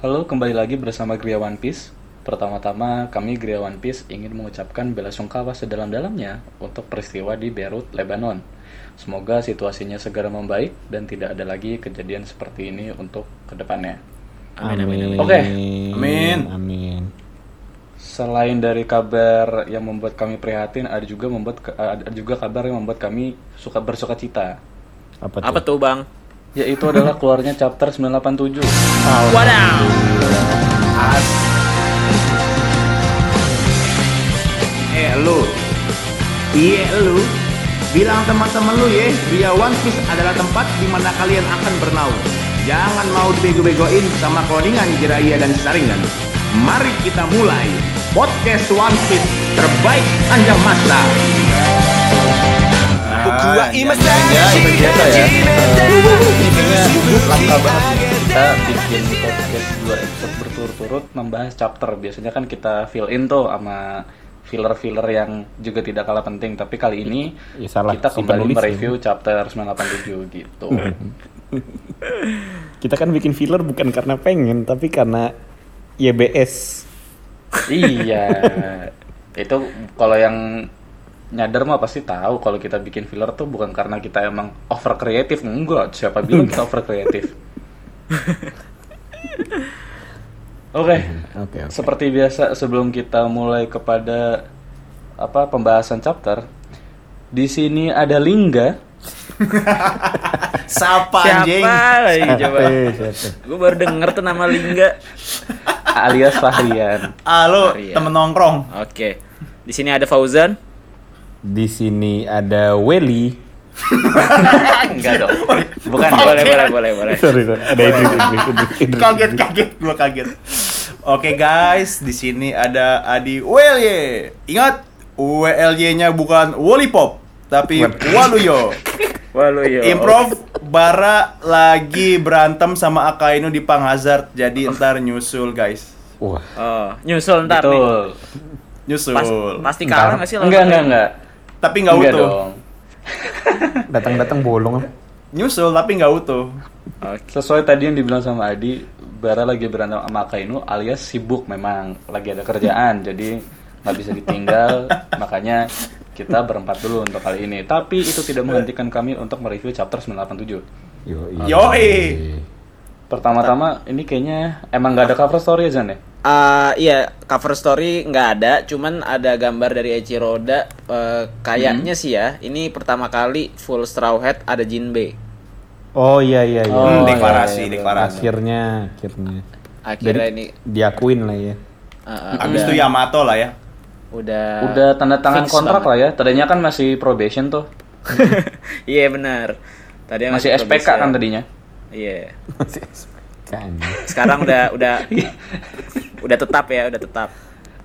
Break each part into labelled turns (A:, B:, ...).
A: Halo, kembali lagi bersama Gria One Piece. Pertama-tama, kami Gria One Piece ingin mengucapkan bela sungkawa sedalam-dalamnya untuk peristiwa di Beirut, Lebanon. Semoga situasinya segera membaik dan tidak ada lagi kejadian seperti ini untuk kedepannya.
B: Amin, amin, amin.
A: Oke.
B: Amin.
C: Amin.
B: Amin.
A: Selain dari kabar yang membuat kami prihatin, ada juga membuat eh, ada juga kabar yang membuat kami suka bersuka cita.
B: Apa tuh?
C: Apa tuh bang?
A: Yaitu adalah keluarnya chapter 987.
C: Wadaw!
D: Eh lu Iya lu Bilang teman-teman lu ya Via One Piece adalah tempat di mana kalian akan bernaung Jangan mau dibego-begoin sama koningan Jiraiya dan Saringan Mari kita mulai Podcast One Piece terbaik panjang masa
C: Gua
D: eh.
C: iya.
A: biasa ya. Langka banget nih. kita bikin podcast dua episode berturut-turut membahas chapter. Biasanya kan kita fill in tuh sama filler-filler yang juga tidak kalah penting. Tapi kali ini
B: Ya, salah.
A: kita
B: Si
A: kembali
B: penulis
A: mereview chapter 987 gitu.
B: Kita kan bikin filler bukan karena pengen, tapi karena YBS.
A: iya. Itu kalau yang nyadar mah pasti tahu kalau kita bikin filler tuh bukan karena kita emang over kreatif enggak siapa bilang kita over kreatif oke
B: Oke, oke.
A: Seperti biasa sebelum kita mulai kepada apa pembahasan chapter, di sini ada Lingga.
C: Siapa
D: Sapa
C: lagi coba?
B: Eh, siapa?
C: Gue baru denger tuh nama Lingga.
A: alias Fahrian.
D: Ah lu
C: Iya.
D: temen nongkrong
C: Oke. Di sini ada Fauzan.
B: Di sini ada Welly.
A: Enggak dong. Bukan
C: boleh, boleh, boleh,
D: Eh.
C: boleh.
B: Sorry, sorry. Ada Idris, Idris, Idris, Idris.
D: Kaget kaget gua kaget Oke guys, di sini ada Adi WLY. Ingat, WLY-nya bukan Wolipop, tapi Waluyo.
C: Wah lu yo.
D: Improv Bara lagi berantem sama Akainu di Pang Hazard jadi ntar nyusul guys.
B: Wah,
C: Oh, nyusul ntar nih.
A: Betul.
D: Nyusul.
C: Pas- pasti kalah nggak sih? lawan
A: Enggak, enggak,
C: Korea?
A: enggak.
D: tapi nggak
A: Enggak
D: utuh.
A: dong.
B: datang-datang bolong. ah.
D: Nyusul tapi nggak utuh.
C: Oke.
A: Sesuai tadi yang dibilang sama Adi, Bara lagi berantem sama Akainu alias sibuk memang lagi ada kerjaan, jadi nggak bisa ditinggal. makanya kita berempat dulu untuk kali ini. Tapi itu tidak menghentikan kami untuk mereview chapter 987.
B: Yo,
D: Yoi.
A: Pertama-tama ini kayaknya emang nggak ada cover story ya Zan ya?
C: Ah, iya, cover story nggak ada, cuman ada gambar dari Echi Roda. Eh, kayaknya sih ya, ini pertama kali full straw hat ada Jinbe.
B: Oh iya iya iya.
A: Oh,
D: Hmm,
A: iya,
D: deklarasi,
A: iya,
D: deklarasi.
B: Akhirnya, akhirnya
C: Akhirnya ini
B: diakuin lah ya.
C: eh, eh,
D: Abis
C: udah-
D: itu Yamato lah ya.
C: udah
A: Udah tanda tangan
C: fix
A: kontrak
C: banget.
A: lah ya. Tadinya kan masih probation tuh.
C: Iya benar. Tadi
A: Masih SPK
C: Iya, probation.
A: kan tadinya.
C: Iya.
B: Kan.
C: Sekarang udah udah
A: Iya.
C: udah tetap ya, udah tetap.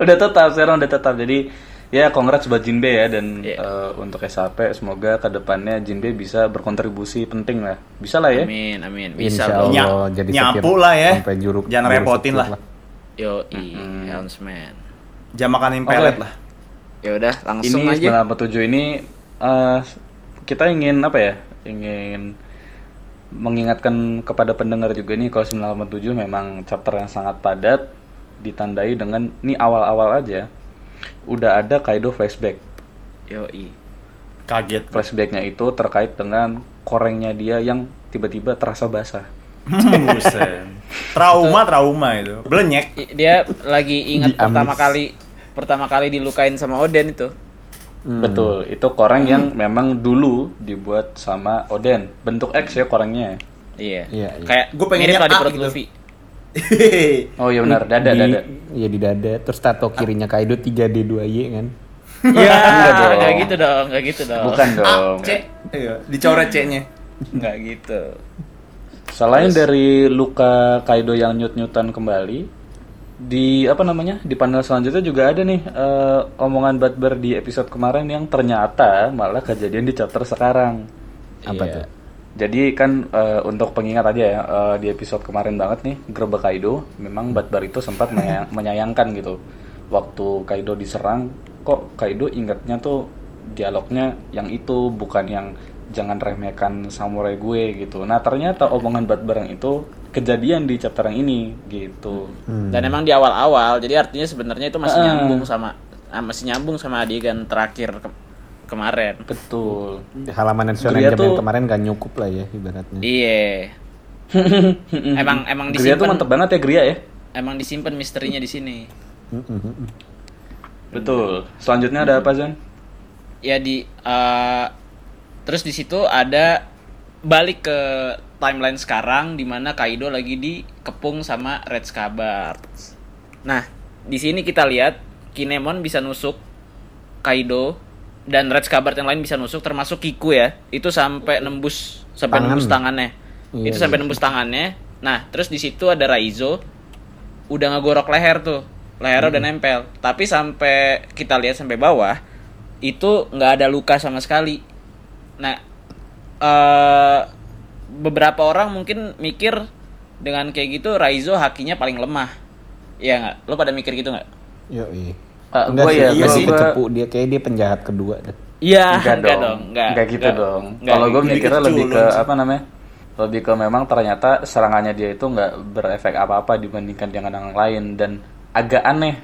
A: Udah tetap, sekarang udah tetap. Jadi ya congrats buat Jinbe ya dan
C: Iya.
A: eh, untuk SAP semoga kedepannya Jinbe bisa berkontribusi penting lah. Bisa lah ya.
C: Amin, amin. Bisa
B: Insya
C: dong.
D: Nya-
B: Allah jadi
D: nyapu
B: setir
D: lah ya.
B: Sampai juruk.
D: Jangan
B: juruk
D: repotin
B: setir
D: lah.
C: Yo, i, announcement.
D: Jam makan impelet
A: Oke.
D: lah.
C: Ya udah, langsung
A: ini
C: aja.
A: 987 ini eh, kita ingin apa ya? Ingin mengingatkan kepada pendengar juga nih kalau 987 memang chapter yang sangat padat ditandai dengan ini awal-awal aja udah ada Kaido flashback.
C: Yo, i.
D: Kaget.
A: Flashbacknya itu terkait dengan korengnya dia yang tiba-tiba terasa basah.
D: Buset. trauma trauma itu. Belenyek.
C: I- Dia lagi ingat
B: Diamis.
C: pertama kali pertama kali dilukain sama Oden itu.
A: Betul, itu koreng yang memang dulu dibuat sama Oden. Bentuk X ya korengnya.
C: Iya.
B: Iya, iya.
C: Kayak
D: Gua
C: gue pengen mirip
D: pengennya
C: lah di
D: A
C: perut
D: gitu.
C: Luffy.
A: Oh iya benar, dada
B: di,
A: dada.
B: Iya di dada. Terus tato kirinya Kaido 3D2Y kan.
C: Iya,
A: Enggak dong.
C: enggak gitu dong, enggak gitu dong.
A: Bukan dong.
D: Iya, dicoret C-nya.
C: Enggak gitu.
A: Selain dari luka Kaido yang nyut-nyutan kembali, di apa namanya di panel selanjutnya juga ada nih eh, omongan Badber di episode kemarin yang ternyata malah kejadian di chapter sekarang.
B: Apa tuh?
A: Jadi kan eh, untuk pengingat aja ya eh, di episode kemarin banget nih Gerbek Kaido memang Badbar itu sempat menya- menyayangkan gitu waktu Kaido diserang kok Kaido ingatnya tuh dialognya yang itu bukan yang jangan remehkan samurai gue gitu. Nah ternyata omongan bat bareng itu kejadian di chapter yang ini gitu.
B: Hmm.
C: Dan emang di awal-awal, jadi artinya sebenarnya itu masih
A: Ah.
C: nyambung sama ah, masih nyambung sama adegan terakhir ke- kemarin.
A: Betul.
B: Halaman Shonen
A: Gria
B: Jump yang
A: tuh-
B: kemarin gak nyukup lah ya ibaratnya.
C: Iya. emang emang
A: Gria tuh
C: disimpan
A: mantep banget ya Gria ya.
C: emang disimpan misterinya di sini.
B: Mm-mm.
A: Betul. Selanjutnya ada apa Zan?
C: Ya di eh, terus di situ ada balik ke timeline sekarang di mana Kaido lagi dikepung sama Red Scabbard. Nah, di sini kita lihat Kinemon bisa nusuk Kaido dan Red Scabbard yang lain bisa nusuk termasuk Kiku ya. Itu sampai nembus sampai
B: Tangan.
C: nembus tangannya.
B: Iya,
C: itu sampai
B: iya.
C: nembus tangannya. Nah, terus di situ ada Raizo udah ngegorok leher tuh. Leher udah
B: Hmm.
C: nempel. Tapi sampai kita lihat sampai bawah itu nggak ada luka sama sekali. Nah, eh beberapa orang mungkin mikir dengan kayak gitu Raizo hakinya paling lemah. Iya nggak? Lo pada mikir gitu nggak?
B: Yoi.
A: Ah,
B: Enggak
A: gua
B: sih,
A: ya,
B: iya
A: gua-
B: sih
A: gua-
B: kecepu dia kayak dia penjahat kedua deh.
C: Iya, enggak, dong. Enggak,
A: Enggak gitu
C: enggak.
A: dong.
C: Enggak,
A: Kalau gue
C: enggak
A: mikirnya
C: gitu.
A: lebih ke apa namanya? Lebih ke memang ternyata serangannya dia itu nggak berefek apa-apa dibandingkan dengan yang lain dan agak aneh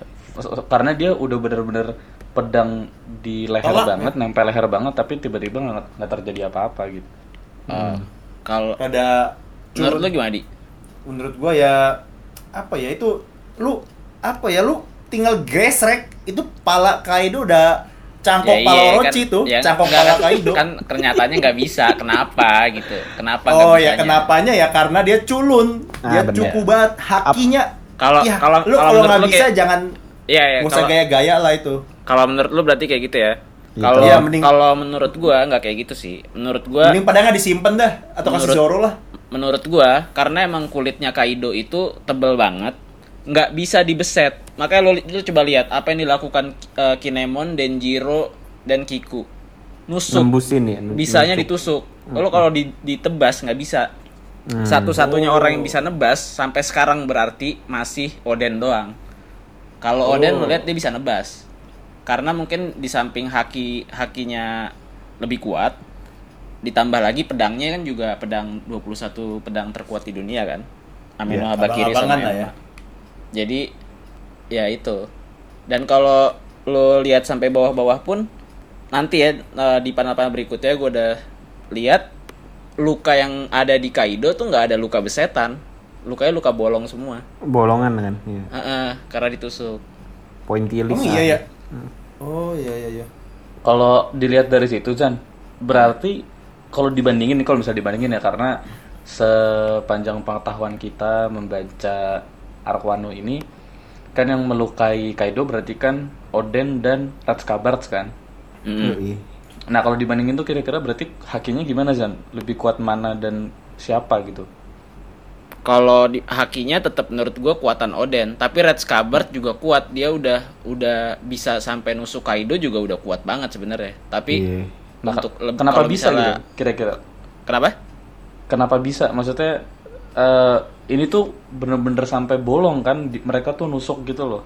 A: karena dia udah bener-bener pedang di leher
C: ya?
A: banget, nempel leher banget, tapi tiba-tiba nggak nggak terjadi apa-apa gitu.
B: Ah.
C: Eh, kalau
D: Pada
C: menurut lo gimana, Di?
D: menurut gua ya apa ya itu lu apa ya lu tinggal gesrek itu pala Kaido udah cangkok pala
C: iya,
D: Orochi
C: kan-
D: tuh,
C: ya,
D: cangkok
C: enggak,
D: pala
C: kan-
D: Kaido.
C: Kan kenyataannya nggak bisa. Kenapa gitu? Kenapa nggak
D: oh ya
C: bisanya?
D: kenapanya ya karena dia culun,
B: Ah,
D: dia
B: bener.
D: cukup banget hakinya.
C: Kalau-
D: Ih,
C: kalau- kalau
D: lu kalau
C: menurut
D: nggak
C: lu
D: bisa
C: kayak-
D: jangan
C: Iya, iya.
D: nggak usah
C: Kalau
D: gaya-gaya lah itu.
C: kalau menurut lo berarti kayak gitu ya.
B: Gitu.
C: Kalau
D: Iya, mending-
C: kalau menurut gua nggak kayak gitu sih. Menurut gua
D: Mending padahal nggak disimpan dah atau kasih
C: Menurut-
D: Zoro lah.
C: menurut gua karena emang kulitnya Kaido itu tebel banget nggak bisa dibeset makanya lo, lo coba lihat apa yang dilakukan eh, Kinemon Denjiro dan Kiku nusuk
B: Nembusin ya.
C: Iya,
B: n-
C: bisanya
B: nusuk.
C: ditusuk lo kalau di- ditebas nggak bisa
B: Hmm.
C: satu-satunya orang yang bisa nebas sampai sekarang berarti masih Oden doang kalau Oden lo lihat dia bisa nebas karena mungkin di samping haki hakinya lebih kuat ditambah lagi pedangnya kan juga pedang 21 pedang terkuat di dunia kan
B: Iya.
C: Amino
A: kan
C: Habakiri sama
D: abang-abangan lah
C: Emma.
D: ya.
C: jadi ya itu dan kalau lo lihat sampai bawah-bawah pun nanti ya eh, di panel-panel berikutnya gue udah lihat luka yang ada di Kaido tuh nggak ada luka besetan lukanya luka bolong semua
B: bolongan kan. Iya.
C: Heeh, karena ditusuk
B: Pointillis.
D: Oh iya ya.
B: Hmm.
D: Oh iya iya iya.
A: Kalau dilihat dari situ, Chan, berarti kalau dibandingin, kalau bisa dibandingin ya, karena sepanjang pengetahuan kita membaca Arkwano ini, kan yang melukai Kaido berarti kan Oden dan Red Scabbard kan.
C: Mm.
B: Yoi.
A: Nah kalau dibandingin tuh kira-kira berarti hakinya gimana, Zan? Lebih kuat mana dan siapa gitu?
C: kalau di, hakinya tetap menurut gue kuatan Oden tapi Red Scabbard juga kuat dia udah udah bisa sampai nusuk Kaido juga udah kuat banget sebenarnya
B: Iya.
C: tapi
A: Nah,
C: untuk leb-
A: kenapa
C: kalau
A: bisa
C: misalnya-
A: gitu? Kira-kira?
C: kenapa
A: Kenapa bisa? Maksudnya eh, ini tuh bener-bener sampai bolong kan? Di- mereka tuh nusuk gitu loh.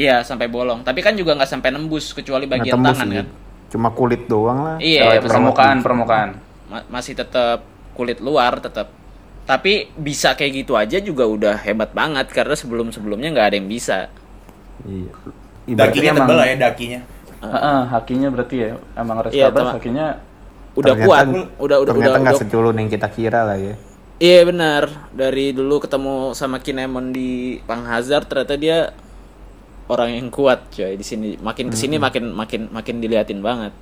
C: Iya sampai bolong, tapi kan juga nggak sampai nembus kecuali
B: Nggak
C: bagian
B: tembus
C: tangan
B: sih.
C: kan.
B: Cuma kulit doang lah.
A: Eh,
C: Iya, iya, betul.
A: permukaan, permukaan.
C: Ma- masih tetap kulit luar tetap. Tapi bisa kayak gitu aja juga udah hebat banget karena sebelum sebelumnya nggak ada yang bisa.
B: Iya.
D: Dakinya
A: emang-
D: tebel lah ya dakinya.
A: Heeh, hakinya berarti ya emang Red
C: Iya,
A: Scabbard
C: teman.
A: hakinya
C: Udah
B: Ternyata-
C: kuat,
B: kan
C: udah udah udah.
B: ternyata nggak
C: udah-
B: seculun yang kita kira lah ya.
C: Iya benar. Dari dulu ketemu sama Kinemon di Pang Hazard ternyata dia orang yang kuat coy di sini. Makin kesini makin makin makin diliatin banget.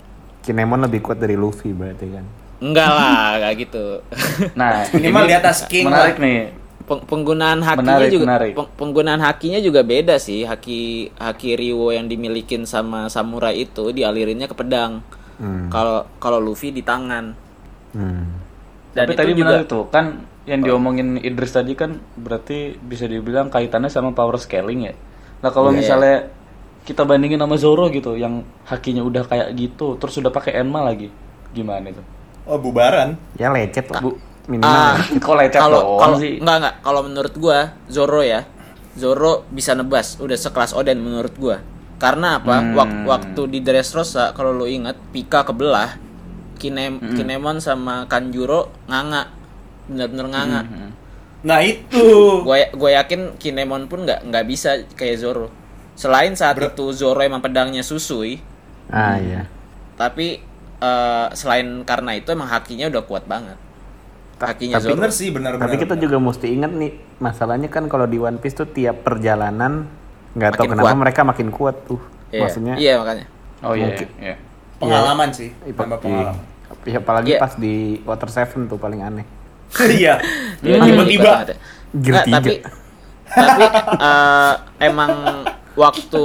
B: Kinemon lebih kuat dari Luffy berarti kan.
C: Enggak lah, nggak gitu.
A: nah
D: Minimal
A: ini
D: di atas king
A: menarik nih
C: Peng- penggunaan hakinya
A: Menarik,
C: juga
A: menarik.
C: peng- penggunaan hakinya juga beda sih haki haki Riwo yang dimilikin sama samurai itu dialirinnya ke pedang
B: Hmm.
C: kalau kalau Luffy di tangan
B: Hmm.
C: dan
A: tapi
C: itu
A: tadi
C: juga Oh.
A: menarik tuh kan yang diomongin Idris tadi kan berarti bisa dibilang kaitannya sama power scaling ya nah kalau misalnya kita bandingin sama Zoro gitu yang hakinya udah kayak gitu terus udah pakai Enma lagi gimana itu
D: Oh bubaran.
B: Ya lecet lah. Bu,
C: Ah,
B: minimal.
A: kok lecet
C: kalau
A: Hmm. doang
C: kalau
A: sih
C: enggak enggak kalau menurut gua Zoro ya Zoro bisa nebas udah sekelas Oden menurut
A: Hmm.
C: gua karena apa Wak- waktu di Dressrosa kalau lo ingat Pika kebelah Kinem
A: Hmm.
C: Kinemon sama Kanjuro nganga bener-bener nganga
A: Mhm.
D: Nah itu.
C: gue gue ya-, yakin Kinemon pun nggak nggak bisa kayak Zoro selain saat itu Zoro emang pedangnya susui
B: Ah iya.
C: tapi eh, selain karena itu emang hakinya udah kuat banget hakinya
B: tapi-
C: Zoro
D: Bener sih bener bener.
B: Tapi kita juga mesti ingat nih, masalahnya kan kalau di One Piece tuh tiap perjalanan nggak tahu
C: Makin
B: kenapa
C: kuat.
B: mereka makin kuat tuh.
C: Iya.
B: Maksudnya
C: iya makanya
A: Oh iya,
B: Mungkin.
A: iya.
D: pengalaman sih.
B: Iya,
D: Tambah
B: iya.
D: pengalaman.
B: Ya, apalagi
C: Iya.
B: pas di Water Seven tuh paling aneh.
D: Iya.
C: Iya,
D: Tiba-tiba.
C: banget ya.
B: Gear
C: Nggak,
B: tiga.
C: tapi tapi eh, emang waktu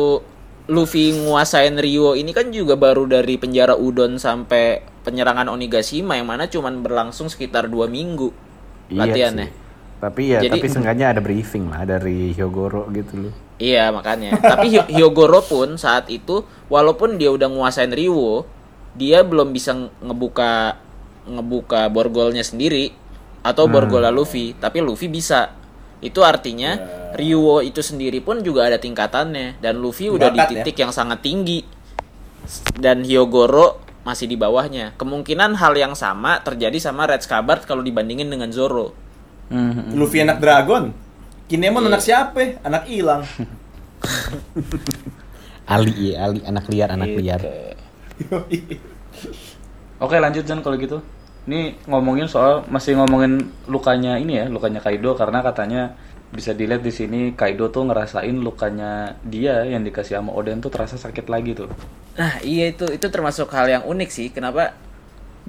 C: Luffy nguasain Rio ini kan juga baru dari penjara Udon sampai penyerangan Onigashima yang mana cuman berlangsung sekitar dua minggu latihannya.
B: Iya sih. Tapi ya,
C: Jadi-
B: tapi seenggaknya ada briefing lah dari Hyogoro gitu loh.
C: Iya makanya. Tapi Hy- Hyogoro pun saat itu walaupun dia udah nguasain Riwo, dia belum bisa nge- ngebuka ngebuka borgolnya sendiri atau borgola Luffy, tapi Luffy bisa. Itu artinya Riwo itu sendiri pun juga ada tingkatannya dan Luffy udah
D: Bakat
C: di titik yang sangat tinggi. S- Dan Hyogoro masih di bawahnya. Kemungkinan hal yang sama terjadi sama Red Scabbard kalau dibandingin dengan Zoro. Hmm,
A: Mhm.
D: Luffy anak dragon. Kinemon anak siapa? ya? Anak hilang.
B: Ali ya, Ali anak liar, anak liar.
A: Oke lanjut Jan kalau gitu. Ini ngomongin soal masih ngomongin lukanya ini ya, lukanya Kaido karena katanya bisa dilihat di sini Kaido tuh ngerasain lukanya dia yang dikasih sama Oden tuh terasa sakit lagi tuh.
C: Nah, iya itu itu termasuk hal yang unik sih. Kenapa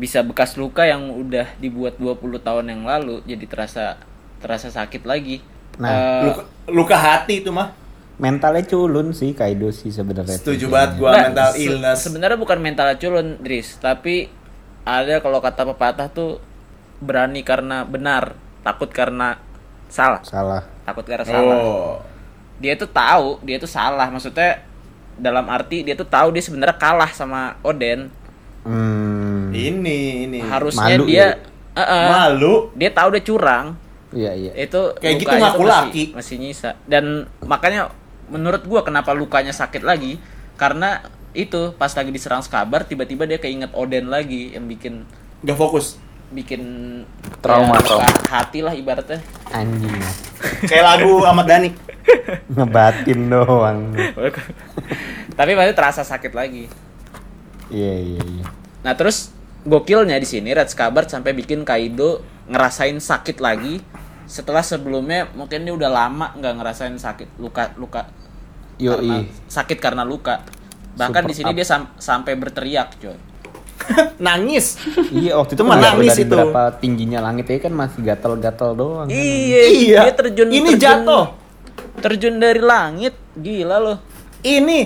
C: bisa bekas luka yang udah dibuat 20 tahun yang lalu jadi terasa terasa sakit lagi.
B: Nah.
C: Eh,
D: luka, luka hati itu mah.
B: Mentalnya culun sih Kaido sih sebenarnya.
D: Setuju banget gua
C: Nggak,
D: mental
C: Nah, se-
D: illness.
C: Sebenarnya bukan mental culun, Dris, tapi ada kalau kata pepatah tuh berani karena benar, takut karena salah.
B: Salah.
C: Takut karena salah.
D: Oh.
C: Dia tuh tahu, dia tuh salah. Maksudnya dalam arti dia tuh tahu dia sebenarnya kalah sama Oden.
B: Hmm.
D: Ini ini.
C: Harusnya
B: Malu
C: dia Eh, eh,
D: ya? malu.
C: dia tahu dia curang,
B: Iya iya.
C: itu
D: Kayak gitu
C: lukanya
D: ngaku
C: tuh masih-
D: laki.
C: masih, nyisa dan makanya menurut gua kenapa lukanya sakit lagi karena itu pas lagi diserang Skabar tiba-tiba dia keinget Oden lagi yang bikin
D: Gak fokus.
C: bikin
A: Trauma,
C: kayak luka
A: trauma.
C: hati lah ibaratnya
B: Anjing.
D: Kayak lagu Ahmad Dhani.
B: Ngebatin doang.
C: tapi masih terasa sakit lagi
B: Iya iya iya.
C: nah terus gokilnya di sini Red Skabar sampai bikin Kaido ngerasain sakit lagi setelah sebelumnya mungkin dia udah lama nggak ngerasain sakit luka luka karena
B: Yoi.
C: sakit karena luka. Bahkan
B: Super
C: di sini
B: up.
C: dia sam- sampai berteriak, coy.
D: Nangis.
B: Iya waktu itu
D: Itu
B: kan
D: menangis
B: dari
D: itu.
B: berapa tingginya langit ya kan masih gatal-gatal doang. kan.
C: Iya,
D: Iya.
C: dia terjun
D: Ini
C: terjun-
D: jatuh.
C: Terjun dari langit, gila loh.
D: Ini.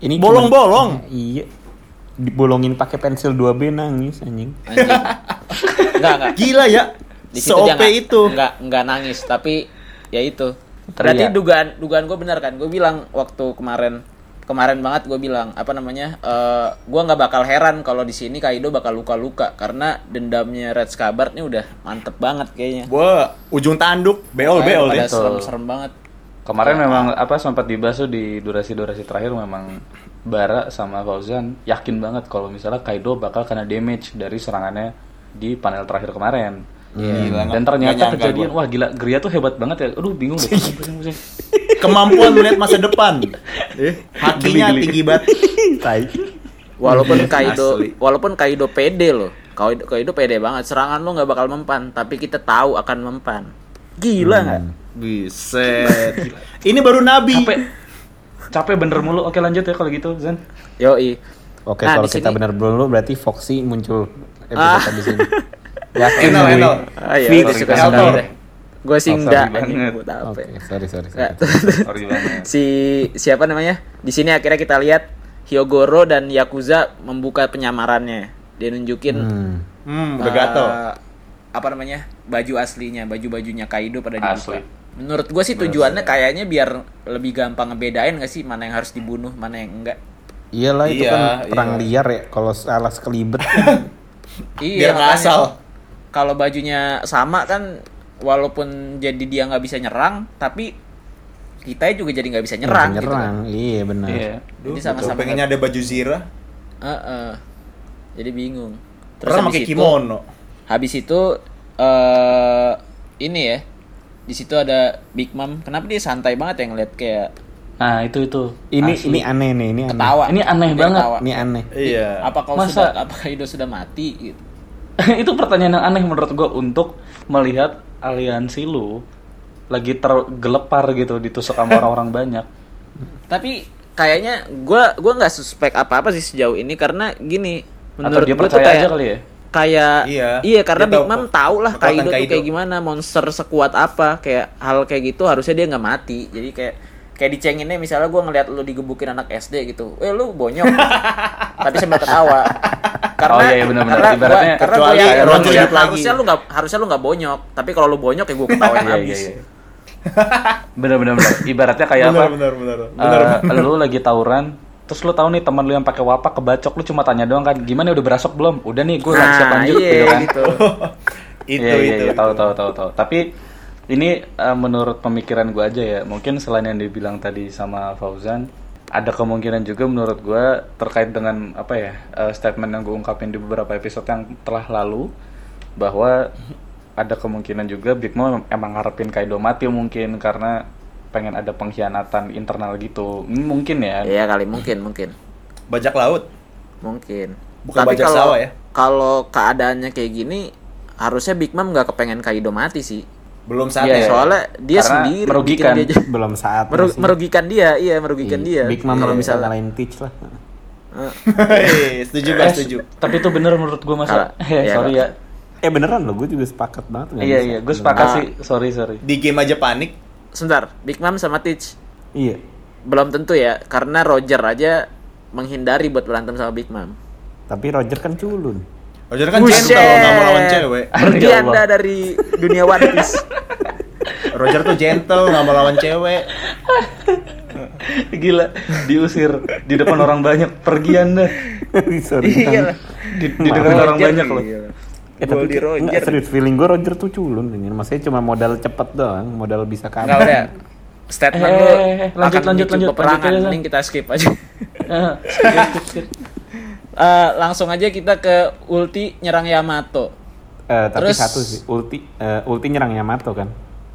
B: Ini cuman-
D: Bolong-bolong.
B: Iya. Dibolongin pakai pensil 2B nangis anjing.
C: Anjing. enggak, enggak.
D: Gila ya.
C: Di situ dia
D: Se-OP
C: enggak-
D: itu.
C: Enggak, enggak nangis, tapi ya itu.
A: Teriak.
C: Berarti dugaan dugaan gue benar kan? Gue bilang waktu kemarin kemarin banget gue bilang apa namanya eh gue nggak bakal heran kalau di sini Kaido bakal luka-luka karena dendamnya Red Scabbard nih udah mantep banget kayaknya
D: Wah, ujung tanduk, beol
C: Makanya
D: beol
C: pada
D: deh.
C: serem-serem banget
A: Kemarin memang apa sempat dibahas tuh di durasi-durasi terakhir memang Bara sama Fauzan yakin banget kalau misalnya Kaido bakal kena damage dari serangannya di panel terakhir kemarin. Dan ternyata kejadian wah gila Gria tuh hebat banget ya. Aduh bingung deh. Pusing, pusing.
D: Kemampuan melihat masa depan. Eh, Hakinya
A: Geli, geli.
D: tinggi banget.
B: Tai.
C: Walaupun Kaido,
D: Asli.
C: walaupun Kaido pede loh. Kaido, Kaido pede banget. Serangan lo nggak bakal mempan, tapi kita tahu akan mempan.
B: Hmm.
C: Gila nggak?
D: Buset. Ini baru nabi.
A: Capek. Capek bener mulu. Oke lanjut ya kalau gitu Zan.
C: Yoi.
B: Oke,
C: Nah,
B: kalau
C: di
B: kita
C: sini-
B: benar dulu berarti Foxy muncul episode
C: Ah.
B: di sini. Yakin
D: Enak,
B: gue.
D: enak.
C: Ah, iya,
A: Free
C: udah
A: dari
C: suka
A: Kaido.
C: sekali deh. Gue sih
A: Oh, sorry
C: nggak.
A: banget.
C: anjing, buat apa
B: Oke,
C: ya.
B: sorry sorry.
C: Nggak.
B: sorry.
A: Sorry banget.
C: si siapa namanya? Di sini akhirnya kita lihat Hyogoro dan Yakuza membuka penyamarannya. Dia nunjukin
B: Hmm.
C: eh,
D: Hmm, udah gatel.
A: Ah,
C: apa namanya baju aslinya baju bajunya Kaido pada
A: Asli.
C: dibuka menurut gue sih tujuannya kayaknya biar lebih gampang ngebedain gak sih mana yang harus dibunuh mana yang enggak
B: Iyalah itu
D: Iya,
B: kan
D: iya.
B: perang liar ya kalau salah sekelibet. kan
C: Iya,
D: Biar nggak
C: makanya
D: asal.
C: kalau bajunya sama kan walaupun jadi dia nggak bisa nyerang tapi kita juga jadi nggak bisa nyerang, gitu kan.
B: nyerang. Iya benar.
A: Iya.
D: Duh,
C: Jadi sama-sama
D: pengennya ada baju zira.
C: Eh, eh. jadi bingung
D: Terus
C: habis
D: pakai
C: itu-
D: kimono.
C: Habis itu eh ini ya. Di situ ada Big Mom. Kenapa dia santai banget yang ngeliat kayak
A: Nah, itu itu.
B: Ini
A: Asli.
B: ini aneh nih, ini aneh.
C: ketawa.
A: Ini aneh
C: Dia
A: banget.
C: ketawa.
B: Ini aneh.
D: Iya.
C: Apa kau
A: Masa-
C: sudah apakah Ido sudah mati gitu.
A: itu pertanyaan yang aneh menurut gue untuk melihat aliansi lu lagi tergelepar gitu ditusuk sama orang-orang banyak.
C: Tapi kayaknya gua gua nggak suspek apa-apa sih sejauh ini karena gini
A: Atau
C: menurut
A: dia
C: gua tuh
A: percaya aja
C: kayak-
A: kali ya.
C: kayak
D: Iya.
C: karena
D: Dia
C: Big
D: tahu
C: Mom
D: kok-
C: tahu lah
D: kekuatan
C: Kaido, tuh
D: Kaido.
C: kayak gimana, monster sekuat apa, kayak hal kayak gitu harusnya dia nggak mati. Jadi kayak kayak dicenginnya misalnya gua ngeliat lu digebukin anak SD gitu, eh lu bonyok, tapi sambil ketawa.
A: Oh,
C: Karena
A: iya, iya, benar-benar.
C: karena gua-
A: Ibaratnya
C: karena
D: kecuali
C: gua yakin
D: kayak
C: harusnya-
D: Rocky hidup lagi.
C: harusnya lu nggak harusnya lu nggak bonyok, tapi kalau lu bonyok ya gua ketawain
A: Iya
C: habis.
A: iya iya. Bener bener bener. Ibaratnya kayak apa?
D: Benar benar benar. Benar.
A: Eh, lu lagi tawuran, terus lu tahu nih teman lu yang pakai wapak kebacok, lu cuma tanya doang kan, gimana udah berasap belum? Udah nih, gue
C: Nah,
A: siap lanjut
C: iya,
A: gitu kan.
C: gitu.
D: Itu
A: Iya, iya,
D: itu.
A: iya, tahu
D: itu.
A: tahu tahu tahu. Tapi ini eh, menurut pemikiran gue aja ya, mungkin selain yang dibilang tadi sama Fauzan, ada kemungkinan juga menurut gue terkait dengan apa ya eh, statement yang gue ungkapin di beberapa episode yang telah lalu bahwa ada kemungkinan juga Big Mom emang ngarepin Kaido mati mungkin karena pengen ada pengkhianatan internal gitu M- mungkin ya
C: Iya kali mungkin mungkin
D: Bajak laut.
C: mungkin.
D: Bukan
C: tapi
D: bajak
C: kalau
D: sawah ya?
C: kalau keadaannya kayak gini, harusnya Big Mom nggak kepengen Kaido mati sih.
D: Belum saatnya.
A: Iya, iya.
C: soalnya dia
A: Karena
C: sendiri
A: merugikan.
C: bikin dia-
B: Belum saat
C: Meru- merugikan dia iya merugikan dia
B: Big Mom
C: kalau
B: kalau
C: misalnya
B: lain teach lah.
D: Hei, Iya, setuju Bang,
A: Eh,
D: setuju.
A: tapi itu bener menurut gue masa
C: Kalau-
A: Eh,
C: iya,
A: sorry
C: kalau-
A: ya
B: Eh beneran loh, gue juga sepakat banget. nggak
A: iya
B: bisa.
A: iya gue sepakat
C: Ah.
A: sih sorry sorry
D: Di game aja panik.
C: sebentar Big Mom sama Teach
B: Iya.
C: belum tentu ya karena Roger aja menghindari buat berantem sama Big Mom
B: Tapi Roger kan culun.
D: Roger kan gentle nggak mau lawan cewek.
C: pergi
A: Ya Allah.
C: anda dari dunia One Piece
D: Roger tuh gentle nggak mau lawan cewek.
A: Gila, diusir di depan orang banyak, pergi anda.
B: Sorry.
C: iya lah
A: Di, di depan orang banyak loh.
C: Iya.
B: Eh, tapi
C: Goldie Roger.
B: enggak, serius feeling gue Roger tuh culun anjir. Maksudnya cuma modal cepet doang, modal bisa
C: nggak
B: kalah.
C: udah statement
A: Eh,
C: lo
A: eh, eh, lanjut,
C: akan
A: lanjut,
C: lanjut
A: lanjut,
C: peperangan
A: lanjut aja,
C: mending kita skip aja
A: Eh, skip, skip, skip.
C: Eh, langsung aja kita ke ulti nyerang Yamato
B: Eh, tapi
C: Terus-
B: satu sih, ulti eh, ulti nyerang Yamato kan.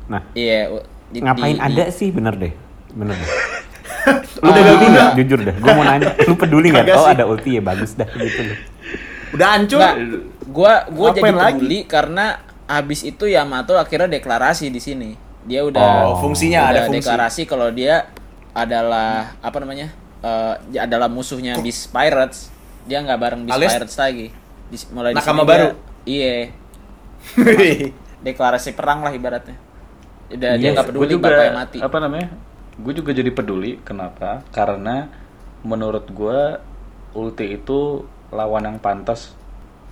B: Nah,
C: iya u- di- di-
B: ngapain
C: di-
B: ada sih bener deh. Bener deh. lu
C: Ah.
B: udah peduli nggak? Jujur dah, gue mau nanya. Lu peduli nggak?
D: Kagak
B: Oh
D: sih.
B: ada ulti ya bagus dah gitu loh.
D: Udah hancur.
C: Enggak, gua gua
D: Ngapain
C: jadi
D: lagi?
C: peduli karena abis itu Yamato akhirnya deklarasi di sini. Dia
D: Oh,
C: udah udah
D: fungsinya ada fungsi.
C: deklarasi kalau dia adalah apa namanya? eh, dia adalah musuhnya Beast Pirates. Dia nggak bareng Beast
D: Alias-
C: Pirates lagi. Di, mulai di sini
D: Nakama
C: dia-
D: baru.
C: Iya, deklarasi perang lah ibaratnya. Udah
A: Iya,
C: dia nggak
A: gua
C: peduli
A: juga,
C: bakal mati.
A: apa namanya? Gue juga jadi peduli. Kenapa? Karena menurut gue ulti itu lawan yang pantas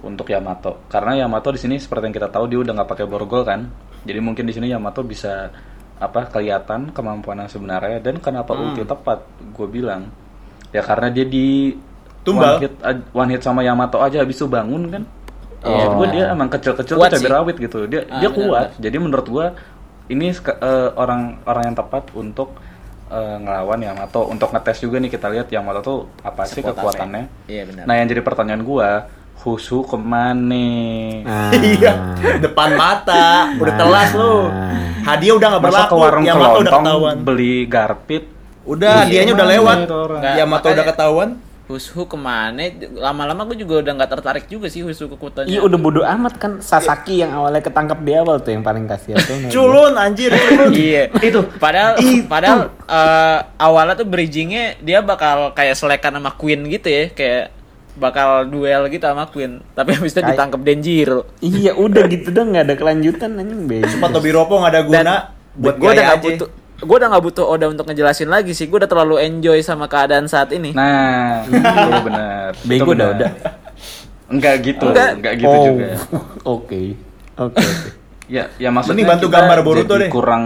A: untuk Yamato. Karena Yamato di sini seperti yang kita tahu dia udah nggak pakai borgol kan. Jadi mungkin di sini Yamato bisa apa kelihatan kemampuan yang sebenarnya dan kenapa
C: Hmm.
A: ulti tepat? Gue bilang ya karena dia di
D: Tumbal.
A: one hit, one hit sama Yamato aja habis itu bangun kan.
C: Iya.
A: Maksud gue dia emang kecil-kecil tuh
C: Kuat
A: cabai
C: sih.
A: rawit gitu. Dia
C: Ah,
A: dia
C: benar,
A: kuat. Jadi menurut gua ini sek- eh, orang orang yang tepat untuk eh, ngelawan Yamato untuk ngetes juga nih kita lihat Yamato tuh apa sih
C: Sekuat apa
A: kekuatannya.
C: ya? Iya, benar.
A: Nah, yang jadi pertanyaan gua, Husu kemana?
B: Ah.
D: Iya, depan mata, udah telas lu. Hadiah udah nggak
A: Nah. Masa
D: berlaku,
A: ke warung
D: Yamato udah
A: kelontong
D: ketahuan.
A: beli garpit?
D: Udah, hadiahnya udah
A: Mana
D: lewat.
A: itu orang?
C: Nggak,
D: Yamato
C: makanya-
D: udah ketahuan.
C: Husu kemana? Lama-lama gue juga udah nggak tertarik juga sih Husu kekuatannya.
B: Iya udah bodo amat kan Sasaki yang awalnya ketangkap di awal tuh yang paling kasihan tuh. Nah,
D: Culun anjir, culun.
C: Iya.
A: Itu.
C: Padahal padahal eh, awalnya tuh bridgingnya dia bakal kayak selekan sama Queen gitu ya, kayak bakal duel gitu sama Queen. Tapi habis itu
B: Kayak-
C: ditangkap Denjiro.
B: Iya udah gitu dong nggak ada kelanjutan anjing bego.
D: Sumpah Tobi Ropo nggak ada
C: Dan
D: guna. Buat
C: gue udah
D: gaya
C: nggak
D: aja. Iya,
C: butuh gue udah nggak butuh Oda untuk ngejelasin lagi sih. Gue udah terlalu enjoy sama keadaan saat ini.
A: Nah, itu benar. Itu
B: Bego dah,
A: benar.
B: udah.
A: Enggak gitu,
C: Enggak.
A: enggak, gitu
B: Oh,
A: juga.
B: Oke. Oke. oke.
A: Ya, ya maksudnya
D: Mending bantu
A: kita
D: gambar Boruto
A: jadi
D: deh.
A: kurang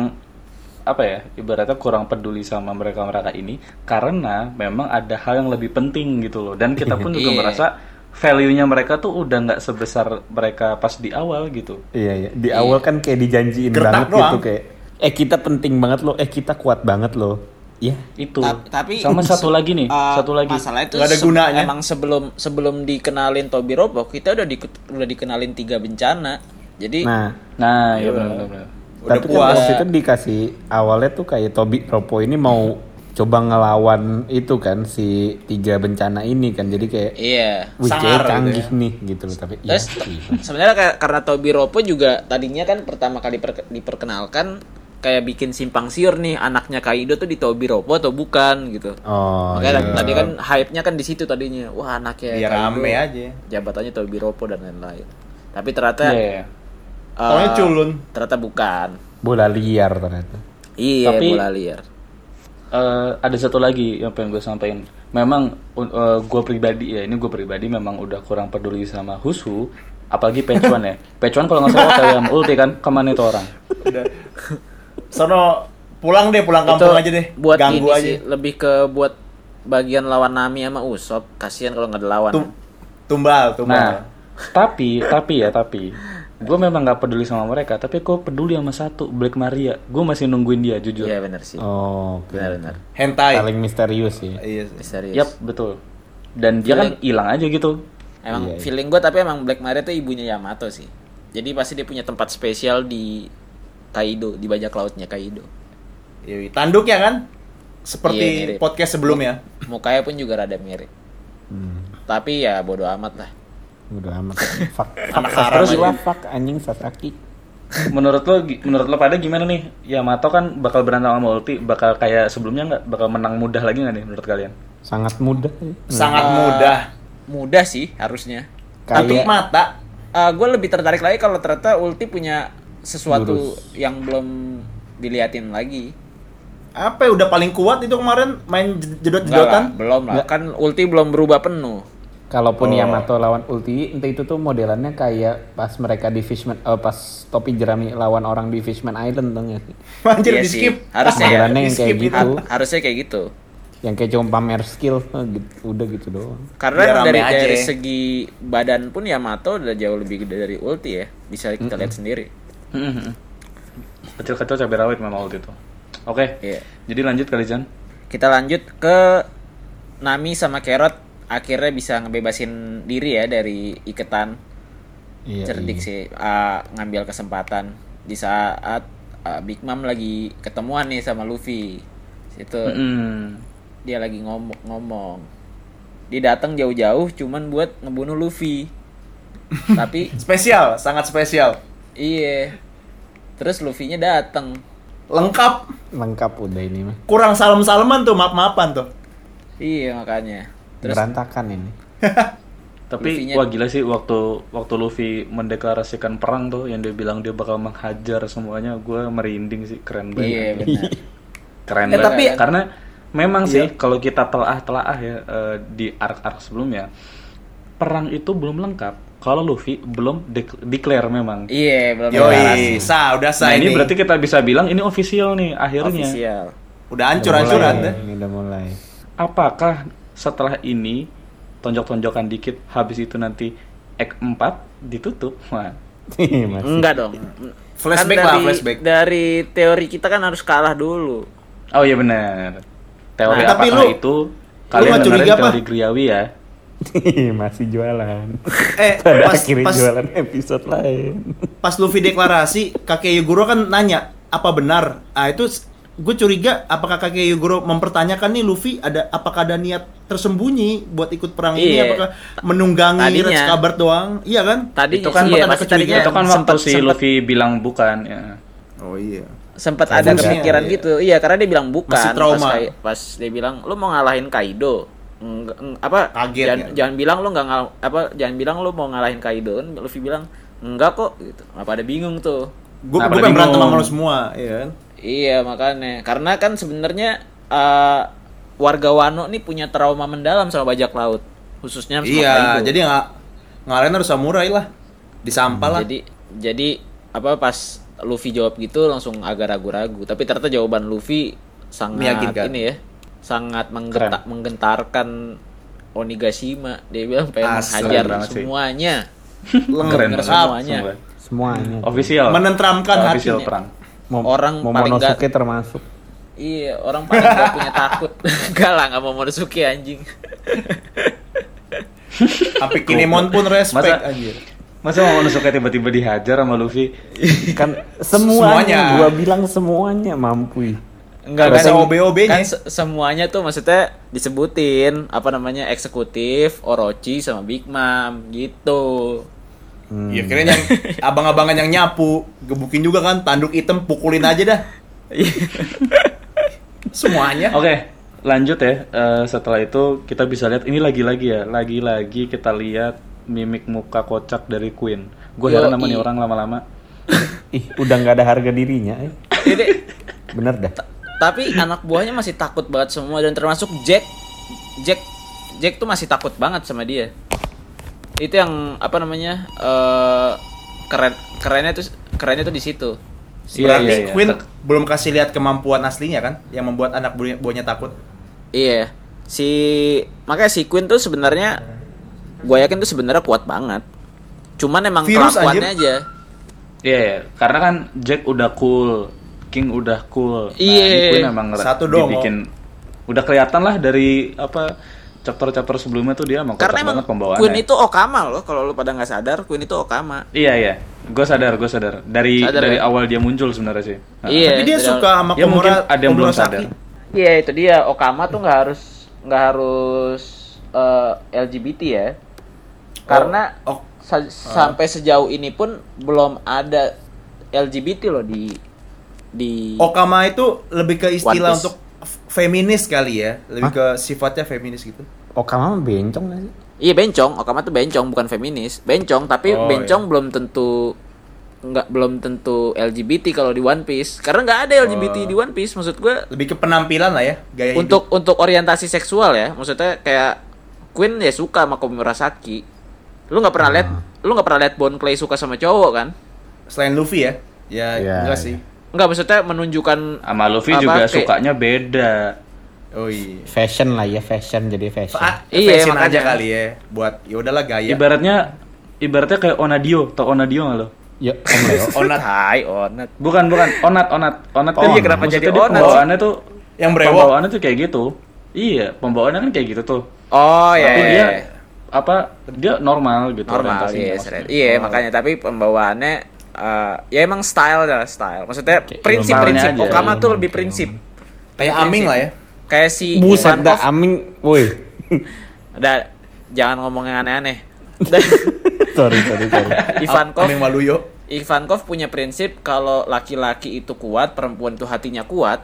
A: apa ya? Ibaratnya kurang peduli sama mereka-mereka ini karena memang ada hal yang lebih penting gitu loh. Dan kita pun juga
C: Iya.
A: merasa value-nya mereka tuh udah nggak sebesar mereka pas di awal gitu.
B: Iya iya. Di awal kan kayak dijanjiin banget
D: Gertak doang.
B: gitu kayak eh kita penting banget loh, eh kita kuat banget loh. Iya.
A: itu
C: Ta- tapi
A: sama satu lagi nih
C: Eh,
A: satu lagi
C: masalahnya itu
D: Nggak ada
C: se-
D: gunanya.
C: emang sebelum sebelum dikenalin Tobi Robok kita udah di, udah dikenalin tiga bencana jadi
B: Nah,
A: nah iya benar benar
D: Udah
B: tapi
D: puas.
B: kan waktu itu dikasih awalnya tuh kayak Tobi Ropo ini mau coba ngelawan itu kan si tiga bencana ini kan jadi kayak
C: iya
B: wih
D: Sangar
B: kayak
D: gitu
B: canggih nih gitu loh tapi iya,
C: Terus
B: iya.
C: sebenarnya kayak- karena Tobi Ropo juga tadinya kan pertama kali per- diperkenalkan kayak bikin simpang siur nih anaknya Kaido tuh di Tobi Ropo atau bukan gitu.
B: oh
C: Makanya
B: iya.
C: tadi kan hype-nya kan di situ tadinya. Wah, anaknya
D: Biar
C: Kaido,
D: rame ya. aja.
C: Jabatannya Tobi Ropo dan lain-lain. Tapi ternyata
A: Iya, iya.
C: eh,
D: Taunya culun.
C: Ternyata bukan.
B: bola liar ternyata
C: Iya,
A: Tapi-
C: bola liar.
A: Eh, ada satu lagi yang pengen gue sampaikan. Memang gue pribadi ya, ini gue pribadi memang udah kurang peduli sama Husu, apalagi Pecuan ya. Pecuan kalau nggak salah kayak sama ulti kan, kemana itu orang?
D: Udah. Sono pulang deh, pulang kampung aja deh.
C: Buat ini
D: Ganggu aja.
C: sih lebih ke buat bagian lawan Nami sama Usop. Kasihan kalau nggak ada lawan.
D: Tum- tumbal, tumbal.
A: Nah, tapi tapi ya tapi gue memang nggak peduli sama mereka, tapi gue peduli sama satu Black Maria. Gue masih nungguin dia jujur.
C: Iya, benar sih.
B: oh oke.
C: Benar-benar.
D: Hentai.
B: paling misterius sih
D: Iya. sih.
C: Misterius.
A: Yap betul. Dan dia kan hilang aja gitu.
C: Emang
B: Iya, iya.
C: feeling gue tapi emang Black Maria tuh ibunya Yamato sih. Jadi pasti dia punya tempat spesial di Kaido, di bajak lautnya Kaido.
D: Iya, Tanduk ya kan?
C: Iya,
D: Seperti
C: mirip.
D: podcast sebelumnya.
C: Mukanya pun juga rada mirip.
B: hmm,
C: Tapi ya bodo amat lah.
B: udah amat fuck
D: Anak
B: fuck
D: haram
B: Sasaki
D: aja.
B: lah, fuck anjing Sasaki
A: Menurut lo, gi- menurut lo pada gimana nih? Yamato kan bakal berantem sama Ulti, bakal kayak sebelumnya nggak? Bakal menang mudah lagi nggak nih menurut kalian?
B: sangat mudah
D: Sangat
C: Eh,
D: mudah.
C: Mudah sih harusnya.
D: Tanduk
B: kayak
D: mata.
C: gue lebih tertarik lagi kalau ternyata Ulti punya sesuatu yang belum diliatin lagi.
D: Apa ya, udah paling kuat itu kemarin main j-
C: Enggak lah,
D: jedot-jedotan?
C: belum lah. Kan Ulti belum berubah penuh.
B: Kalaupun
D: Oh.
B: Yamato lawan Ulti, entah itu tuh modelannya kayak pas mereka di Fishman, eh, pas topi jerami lawan orang di Fishman Island dong ya.
C: Iya
D: Anjir di
C: sih,
D: skip.
C: harusnya ya.
B: Modelannya yang kayak
D: Skip
B: gitu,
D: itu.
C: Harusnya kayak gitu.
B: yang kayak cuma pamer skill, eh, gitu. udah gitu doang.
C: Karena
D: Biar
C: emang
D: rame
C: dari,
D: aja.
C: dari segi badan pun Yamato udah jauh lebih gede dari Ulti ya. Bisa kita lihat sendiri.
A: Kecil-kecil cabai rawit memang waktu itu. Oke.
C: Iya.
A: Jadi lanjut kali Jan.
C: Kita lanjut ke Nami sama Carrot akhirnya bisa ngebebasin diri ya dari iketan.
B: Iya,
C: Cerdik
B: iya.
C: sih ah, ngambil kesempatan di saat ah, Big Mom lagi ketemuan nih sama Luffy. Itu
A: Mm-mm.
C: dia lagi ngomong-ngomong. Dia datang jauh-jauh cuman buat ngebunuh Luffy. Tapi
D: Spesial, sangat spesial.
C: Iya. Terus Luffy-nya datang.
D: Lengkap.
B: Lengkap udah ini mah.
D: Kurang salam-salaman tuh, maaf-maafan tuh.
C: Iya makanya. Terus
B: Berantakan ini.
A: Tapi
C: Luffy-nya-
A: wah gila sih waktu waktu Luffy mendeklarasikan perang tuh yang dia bilang dia bakal menghajar semuanya, gue merinding sih keren
C: iya Ya,
A: banget.
C: benar.
A: Keren
D: Eh,
A: banget.
D: tapi-
A: karena memang sih
C: Iya.
A: kalau kita telah-telah ya eh, di arc-arc sebelumnya perang itu belum lengkap kalau Luffy belum dek- declare memang.
C: iya belum
D: Yoi, sa, udah
A: Nah,
D: sa
A: ini
D: ini.
A: berarti kita bisa bilang ini official nih akhirnya.
C: official.
D: Udah hancur-hancuran
B: Udah
D: deh.
B: mulai, ini Udah mulai.
A: apakah setelah ini tonjok-tonjokan dikit habis itu nanti act 4 ditutup wah
B: Ih, Masih.
C: Enggak dong.
D: Flashback
C: Kan
D: lah,
C: dari-
D: flashback.
C: Dari teori kita kan harus kalah dulu.
A: oh iya benar teori
D: Nah, tapi
A: apakah
D: lu-
A: itu
D: nggak
A: kalian dengerin
D: curiga apa?
A: teori Griawi ya
B: Ih, Masih jualan.
D: Eh,
B: Pada
D: pas,
B: akhirnya
D: pas,
B: jualan episode lain.
D: pas Luffy deklarasi, kakek Yogoro kan nanya, apa benar? Ah, itu gue curiga apakah kakek Yogoro mempertanyakan nih Luffy ada apakah ada niat tersembunyi buat ikut perang ini
C: Iya.
D: apakah menunggangi
C: Tadinya.
D: Red kabar doang iya kan
C: Tadi
A: itu kan
C: iya,
D: sempat ada
C: masih tadinya
D: kecurigaan.
A: itu kan waktu
C: sempat-
A: si
C: sempat-
A: Luffy bilang bukan ya.
D: oh iya
C: sempat ada
B: Sebenarnya,
C: kepikiran
D: iya.
C: gitu iya karena dia bilang bukan
D: Masih trauma.
C: pas, kayak- pas dia bilang lu mau ngalahin Kaido Enggak- eng- apa
D: Kaget
C: jangan,
D: ya.
C: jangan bilang lu nggak ngal- apa jangan bilang lu mau ngalahin Kaido kan Luffy bilang enggak kok gitu apa ada bingung tuh
D: gue
A: Nah,
D: gue
A: pada
D: pengen berantem
A: bingung.
D: sama lo semua iya kan
C: iya makanya karena kan sebenarnya eh, warga Wano nih punya trauma mendalam sama bajak laut khususnya sama
D: iya
C: Kaido.
D: jadi nggak ngalahin harus samurai lah disampah lah
C: jadi jadi apa pas Luffy jawab gitu langsung agak ragu-ragu tapi ternyata jawaban Luffy sangat
D: Meyakinkan.
C: ini ya sangat menggenta- menggentarkan Onigashima dia bilang pengen
D: Asli
C: hajar
A: banget sih.
C: semuanya
A: keren
C: bener
A: banget
C: semuanya.
A: sumpah.
B: Semuanya.
A: official
D: menenteramkan
A: official
D: hatinya
A: perang
B: Mom-
C: orang paling
B: Momonosuke termasuk.
C: Iya, orang paling gak punya takut. Enggak lah, gak mau Momonosuke anjing.
D: Tapi Kinemon pun respect
A: Masa-
D: anjir.
A: Masa mau Momonosuke tiba-tiba dihajar sama Luffy?
B: kan semuanya,
D: Semuanya.
B: gua bilang semuanya mampu
C: Enggak
D: Gak ada OB-OB-nya.
C: Kan se- semuanya tuh maksudnya disebutin apa namanya eksekutif, Orochi sama Big Mom gitu.
D: Ya kirain yang abang-abangan yang nyapu, gebukin juga kan, tanduk hitam pukulin aja dah.
A: Iya.
D: Semuanya.
A: Oke, lanjut ya. Eh, setelah itu kita bisa lihat ini lagi-lagi ya, lagi-lagi kita lihat mimik muka kocak dari Queen. Gue
C: Yo,
A: heran sama
C: i.
A: nih orang lama-lama.
B: ih udah nggak ada harga dirinya eh.
C: Jadi,
B: bener dah
C: tapi anak buahnya masih takut banget semua dan termasuk Jack Jack Jack tuh masih takut banget sama dia itu yang apa namanya eh keren kerennya tuh kerennya tuh di situ
D: Berarti
A: iya, iya.
D: Queen
A: Tek-
D: belum kasih lihat kemampuan aslinya kan, yang membuat anak buahnya, buahnya takut.
C: iya si makanya si Queen tuh sebenarnya gue yakin tuh sebenarnya kuat banget cuman emang
D: Virus,
C: kelakuannya aja
A: Iya, iya. karena kan Jack udah cool, King udah cool. Nah,
C: Iya.
A: ini Queen emang ngera-
D: Satu dong,
A: dibikin udah kelihatan lah dari apa chapter-chapter sebelumnya tuh dia emang kocak
C: karena emang
A: banget pembawaannya.
C: Queen itu Okama loh kalau lu pada nggak sadar Queen itu Okama
A: Iya, iya. Gue sadar, gue sadar. Dari
C: Sadar
A: dari
C: ya?
A: awal dia muncul sebenarnya sih. Nah.
C: Iya,
D: Ah. Tapi dia
C: dari-
D: suka sama
A: Ya mungkin
D: Komura,
A: ada yang belum
D: Komura
A: sadar.
D: Saki.
C: Iya itu dia Okama tuh nggak harus nggak harus eh, LGBT ya karena
D: Oh, oh.
C: sa- sampai sejauh ini pun belum ada LGBT loh di di
D: Okama itu lebih ke
C: One
D: istilah
C: Piece.
D: untuk f- feminis kali ya, lebih ke sifatnya feminis gitu.
B: Okama mah bencong nggak sih
C: iya bencong Okama tuh bencong bukan feminis bencong tapi
D: Oh,
C: bencong belum tentu nggak belum tentu LGBT kalau di One Piece karena nggak ada LGBT
D: Oh.
C: di One Piece maksud gue
D: Lebih ke penampilan lah ya, gaya
C: untuk untuk orientasi seksual ya maksudnya kayak Queen ya suka sama Komura Saki lu nggak pernah lihat lu nggak pernah lihat Bon Clay suka sama cowok kan
D: hidup. Selain Luffy ya. Ya,
B: Iya,
D: enggak
B: iya.
D: sih.
C: nggak maksudnya menunjukkan
A: Sama Luffy
C: Apa,
A: juga
C: kayak-
A: sukanya beda.
D: Oh iya.
B: fashion lah ya fashion jadi fashion
D: Fa-
C: Iya,
D: fashion
C: makanya.
D: aja kali ya buat ya udahlah
C: Iya.
D: gaya.
A: Ibaratnya ibaratnya kayak Onadio, tau Onadio nggak lo?
B: ya om Leo
D: Onat.
C: hai onat
A: Bukan, bukan. Onat, Onat. Onat
B: Oh,
A: kan
B: iya, kenapa
A: maksudnya
C: jadi
A: dia
C: Onat sih?
A: Pembawaannya tuh
D: Yang brewok.
A: Pembawaannya tuh kayak gitu. Iya, pembawaannya kan kayak gitu tuh.
C: oh ya
A: Tapi
C: ya,
A: dia
C: ya.
A: apa dia normal gitu
C: normal
A: orientasinya
C: iya
A: maksudnya.
C: seret. iya makanya tapi pembawaannya eh, ya emang style lah style maksudnya
B: Kayak
C: prinsip
A: normalnya
C: prinsip
A: aja.
C: Okama tuh
B: Normal,
C: lebih
B: kayak
C: prinsip
D: Kayak Aming lah ya.
C: kayak si
B: buset
C: Ivankov.
B: dah aming woi
C: Udah, jangan ngomong yang aneh-aneh
B: sorry sorry sorry
C: Ivankov
D: Aming Waluyo.
C: Ivankov punya prinsip kalau laki-laki itu kuat, perempuan itu hatinya kuat.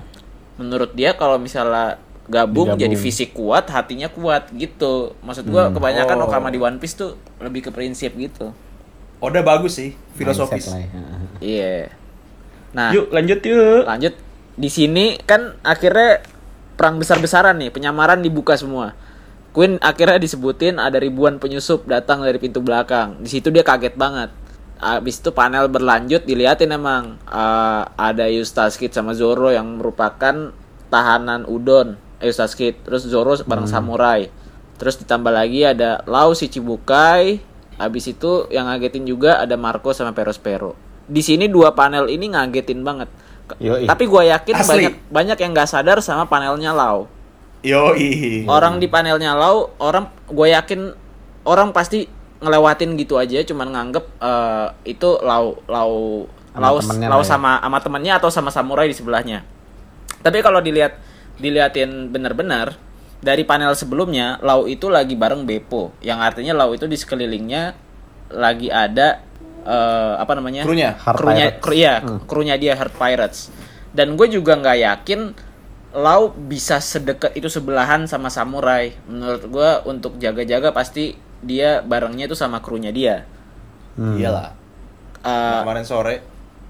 C: Menurut dia kalau misalnya gabung,
B: Digabung.
C: jadi fisik kuat, hatinya kuat gitu. Maksud gua kebanyakan
D: Oh.
C: Okama di One Piece tuh lebih ke prinsip gitu.
D: Oda bagus sih, filosofis.
B: Mindset lah ya.
C: Iya. Nah,
A: Yuk, lanjut yuk.
C: lanjut di sini kan akhirnya perang besar-besaran nih, penyamaran dibuka semua. Queen akhirnya disebutin ada ribuan penyusup datang dari pintu belakang. Di situ dia kaget banget. Abis itu panel berlanjut diliatin emang Eh, ada Eustace Kid sama Zoro yang merupakan tahanan Udon, Eustace Kid. Terus Zoro bareng samurai. Terus ditambah lagi ada Lau si Cibukai. Abis itu yang ngagetin juga ada Marco sama Perospero. Di sini dua panel ini ngagetin banget. Ke-
B: Yoi.
C: Tapi gue yakin
D: Asli.
C: banyak banyak yang nggak sadar sama panelnya Lau.
B: Iya.
D: Yoi.
C: Orang di panelnya Lau, orang gue yakin orang pasti ngelewatin gitu aja, cuman nganggep eh, itu Lau Lau
B: Sama
C: Lau
B: temennya
C: Lau
B: lah ya.
C: sama sama temannya atau sama samurai di sebelahnya. Tapi kalau dilihat diliatin benar-benar dari panel sebelumnya, Lau itu lagi bareng Beppo, yang artinya Lau itu di sekelilingnya lagi ada eh, apa namanya?
D: Krunya.
B: Hard
C: krunya
B: Pirates.
C: kru- iya,
B: Hmm.
C: krunya dia Hard Pirates. Dan gue juga nggak yakin Lau bisa sedekat itu sebelahan sama samurai. Menurut gue untuk jaga-jaga pasti dia barengnya itu sama krunya dia.
B: Hmm.
D: Iyalah.
C: Eh,
D: Kemarin sore.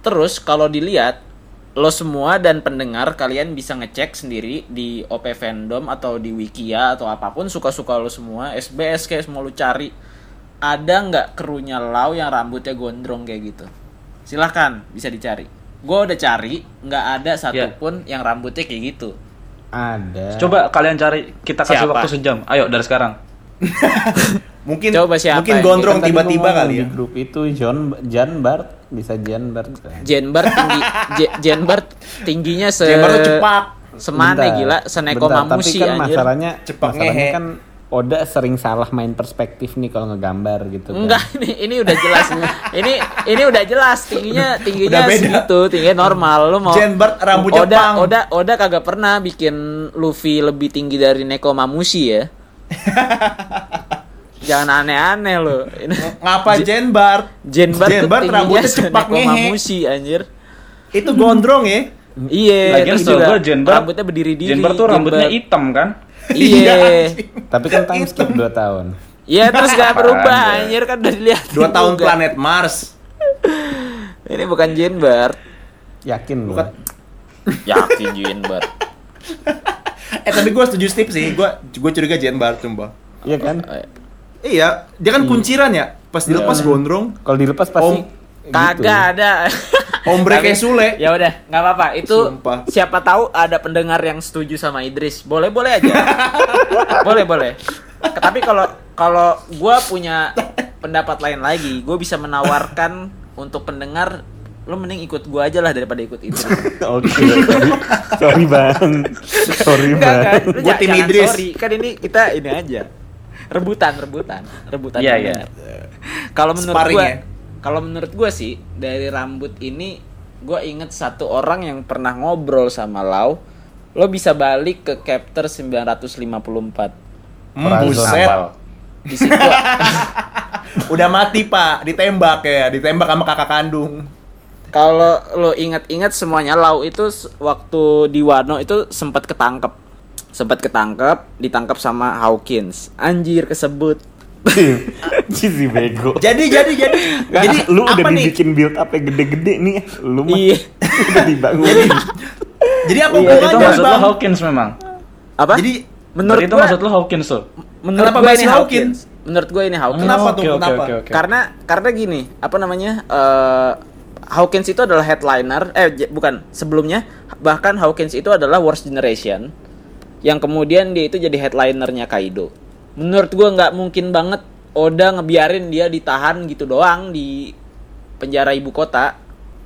C: Terus kalau dilihat lo semua dan pendengar kalian bisa ngecek sendiri di OP fandom atau di Wikia atau apapun suka-suka lo semua SBS kayak semua lo cari ada nggak kerunya Lau yang rambutnya gondrong kayak gitu silahkan bisa dicari gue udah cari nggak ada satupun yang rambutnya kayak gitu
B: ada
A: Coba kalian cari, kita kasih
C: iya. Siapa?
A: waktu sejam. Ayo dari sekarang.
D: Mungkin
C: Coba siapa
D: mungkin
C: yang
D: gondrong
B: Kan tadi
D: tiba-tiba
B: ngomong
D: kali
B: di
D: ya.
B: grup itu John Jan Bart bisa Jan Bart
C: Jenbar tinggi Je- Jenbar tingginya se
D: Jember tuh cepak.
C: Semane
B: Bentar,
C: ya, gila, Seneko
B: bentar,
C: Mamushi
B: Tapi kan
C: anjir.
B: masalahnya,
C: Cepak
B: masalahnya
C: ngehe.
B: kan Oda sering salah main perspektif nih kalau ngegambar gitu kan.
C: Enggak, ini ini udah jelas. ini ini udah jelas tingginya tingginya
D: Udah beda.
C: segitu, tingginya normal. Lu mau
D: Jen Bart rambutnya
C: Oda,
D: pang.
C: Oda Oda kagak pernah bikin Luffy lebih tinggi dari Neko Mamushi ya. Jangan aneh-aneh lo. Ini-
D: Ngapa Jen Bart?
C: Jen Bart
D: Jen
C: tuh
D: Bart
C: tingginya
D: Oh. rambutnya
C: se-
D: cepak
C: Neko
D: ngehe.
C: Mamushi anjir.
D: Itu gondrong ya.
C: Iya,
A: Lagian
C: terus
A: setahu
C: juga
A: gua Jenbar,
C: rambutnya berdiri-diri.
A: Jenbar tuh
C: Jen
A: rambutnya
C: Bart.
A: hitam kan?
C: Iya.
D: anjing.
B: Tapi kan time
D: Gitu.
B: skip 2 tahun.
C: Iya, terus gak
A: Apaan,
C: berubah anjir kan udah dilihat.
D: Dua tahun planet Mars.
C: Ini bukan Jen Bart.
D: Gitu.
B: Yakin lu?
D: Bukan.
C: Yakin Jen Bart.
D: Eh tapi gue setuju Steve sih. Gue gue curiga Jen Bart sumpah.
B: Iya kan?
D: Iya, dia kan kunciran ya. Pas dilepas gondrong,
B: Kalau dilepas pasti
D: Om,
B: gitu.
C: Kagak ada.
D: ombre
C: Tapi-
D: kayak Sule.
C: Ya udah, nggak apa-apa. Itu
D: Sumpah.
C: siapa tahu ada pendengar yang setuju sama Idris. Boleh boleh aja. boleh boleh. Tapi kalau kalau gue punya pendapat lain lagi, gue bisa menawarkan untuk pendengar lo mending ikut gue aja lah daripada ikut Idris.
B: Oke. Sorry bang. Sorry
C: Enggak
B: bang.
C: kan? Lu
D: Gua
C: ja-
D: tim
C: jangan
D: Idris.
C: Sorry. Kan ini kita ini aja. Rebutan, rebutan, rebutan.
A: Iya,
C: pendengar. Kalau menurut
D: Sparring
C: gua,
D: ya.
C: kalau menurut gua sih dari rambut ini gua inget satu orang yang pernah ngobrol sama Lau. Lo bisa balik ke chapter 954.
D: Hmm,
B: Prazon.
D: buset.
A: Nampal.
C: Di situ
D: Udah mati, Pak. Ditembak ya, ditembak sama kakak kandung.
C: kalau lo inget-inget semuanya Lau itu s- waktu di Wano itu sempat ketangkep. Sempat ketangkep, ditangkap sama Hawkins. Anjir kesebut.
B: Cici bego.
D: Jadi, jadi, jadi. jadi
B: Jadi lu udah
D: apa nih?
B: dibikin build up yang gede-gede nih. Lu mah
C: Iya.
B: udah dibangunin.
D: Jadi
B: Iya,
D: apa
A: Berarti itu
D: hubungannya,
A: maksud lo
D: Bang?
A: Hawkins memang.
C: Apa?
D: Jadi-
A: Menurut
C: menurut
A: itu
C: gua-
A: maksud lo Hawkins tuh. Oh,
C: menurut
D: Kenapa
C: gua
D: bahas
C: ini Hawkins.
D: Hawkins?
C: Menurut gua ini Hawkins.
D: Kenapa tuh?
A: Oke, oke,
D: Kenapa?
A: oke, oke.
C: Karena karena gini, apa namanya? eh, Hawkins itu adalah headliner, eh j- bukan, sebelumnya bahkan Hawkins itu adalah Worst Generation yang kemudian dia itu jadi headlinernya Kaido. Menurut gua nggak mungkin banget Oda ngebiarin dia ditahan gitu doang di penjara ibu kota,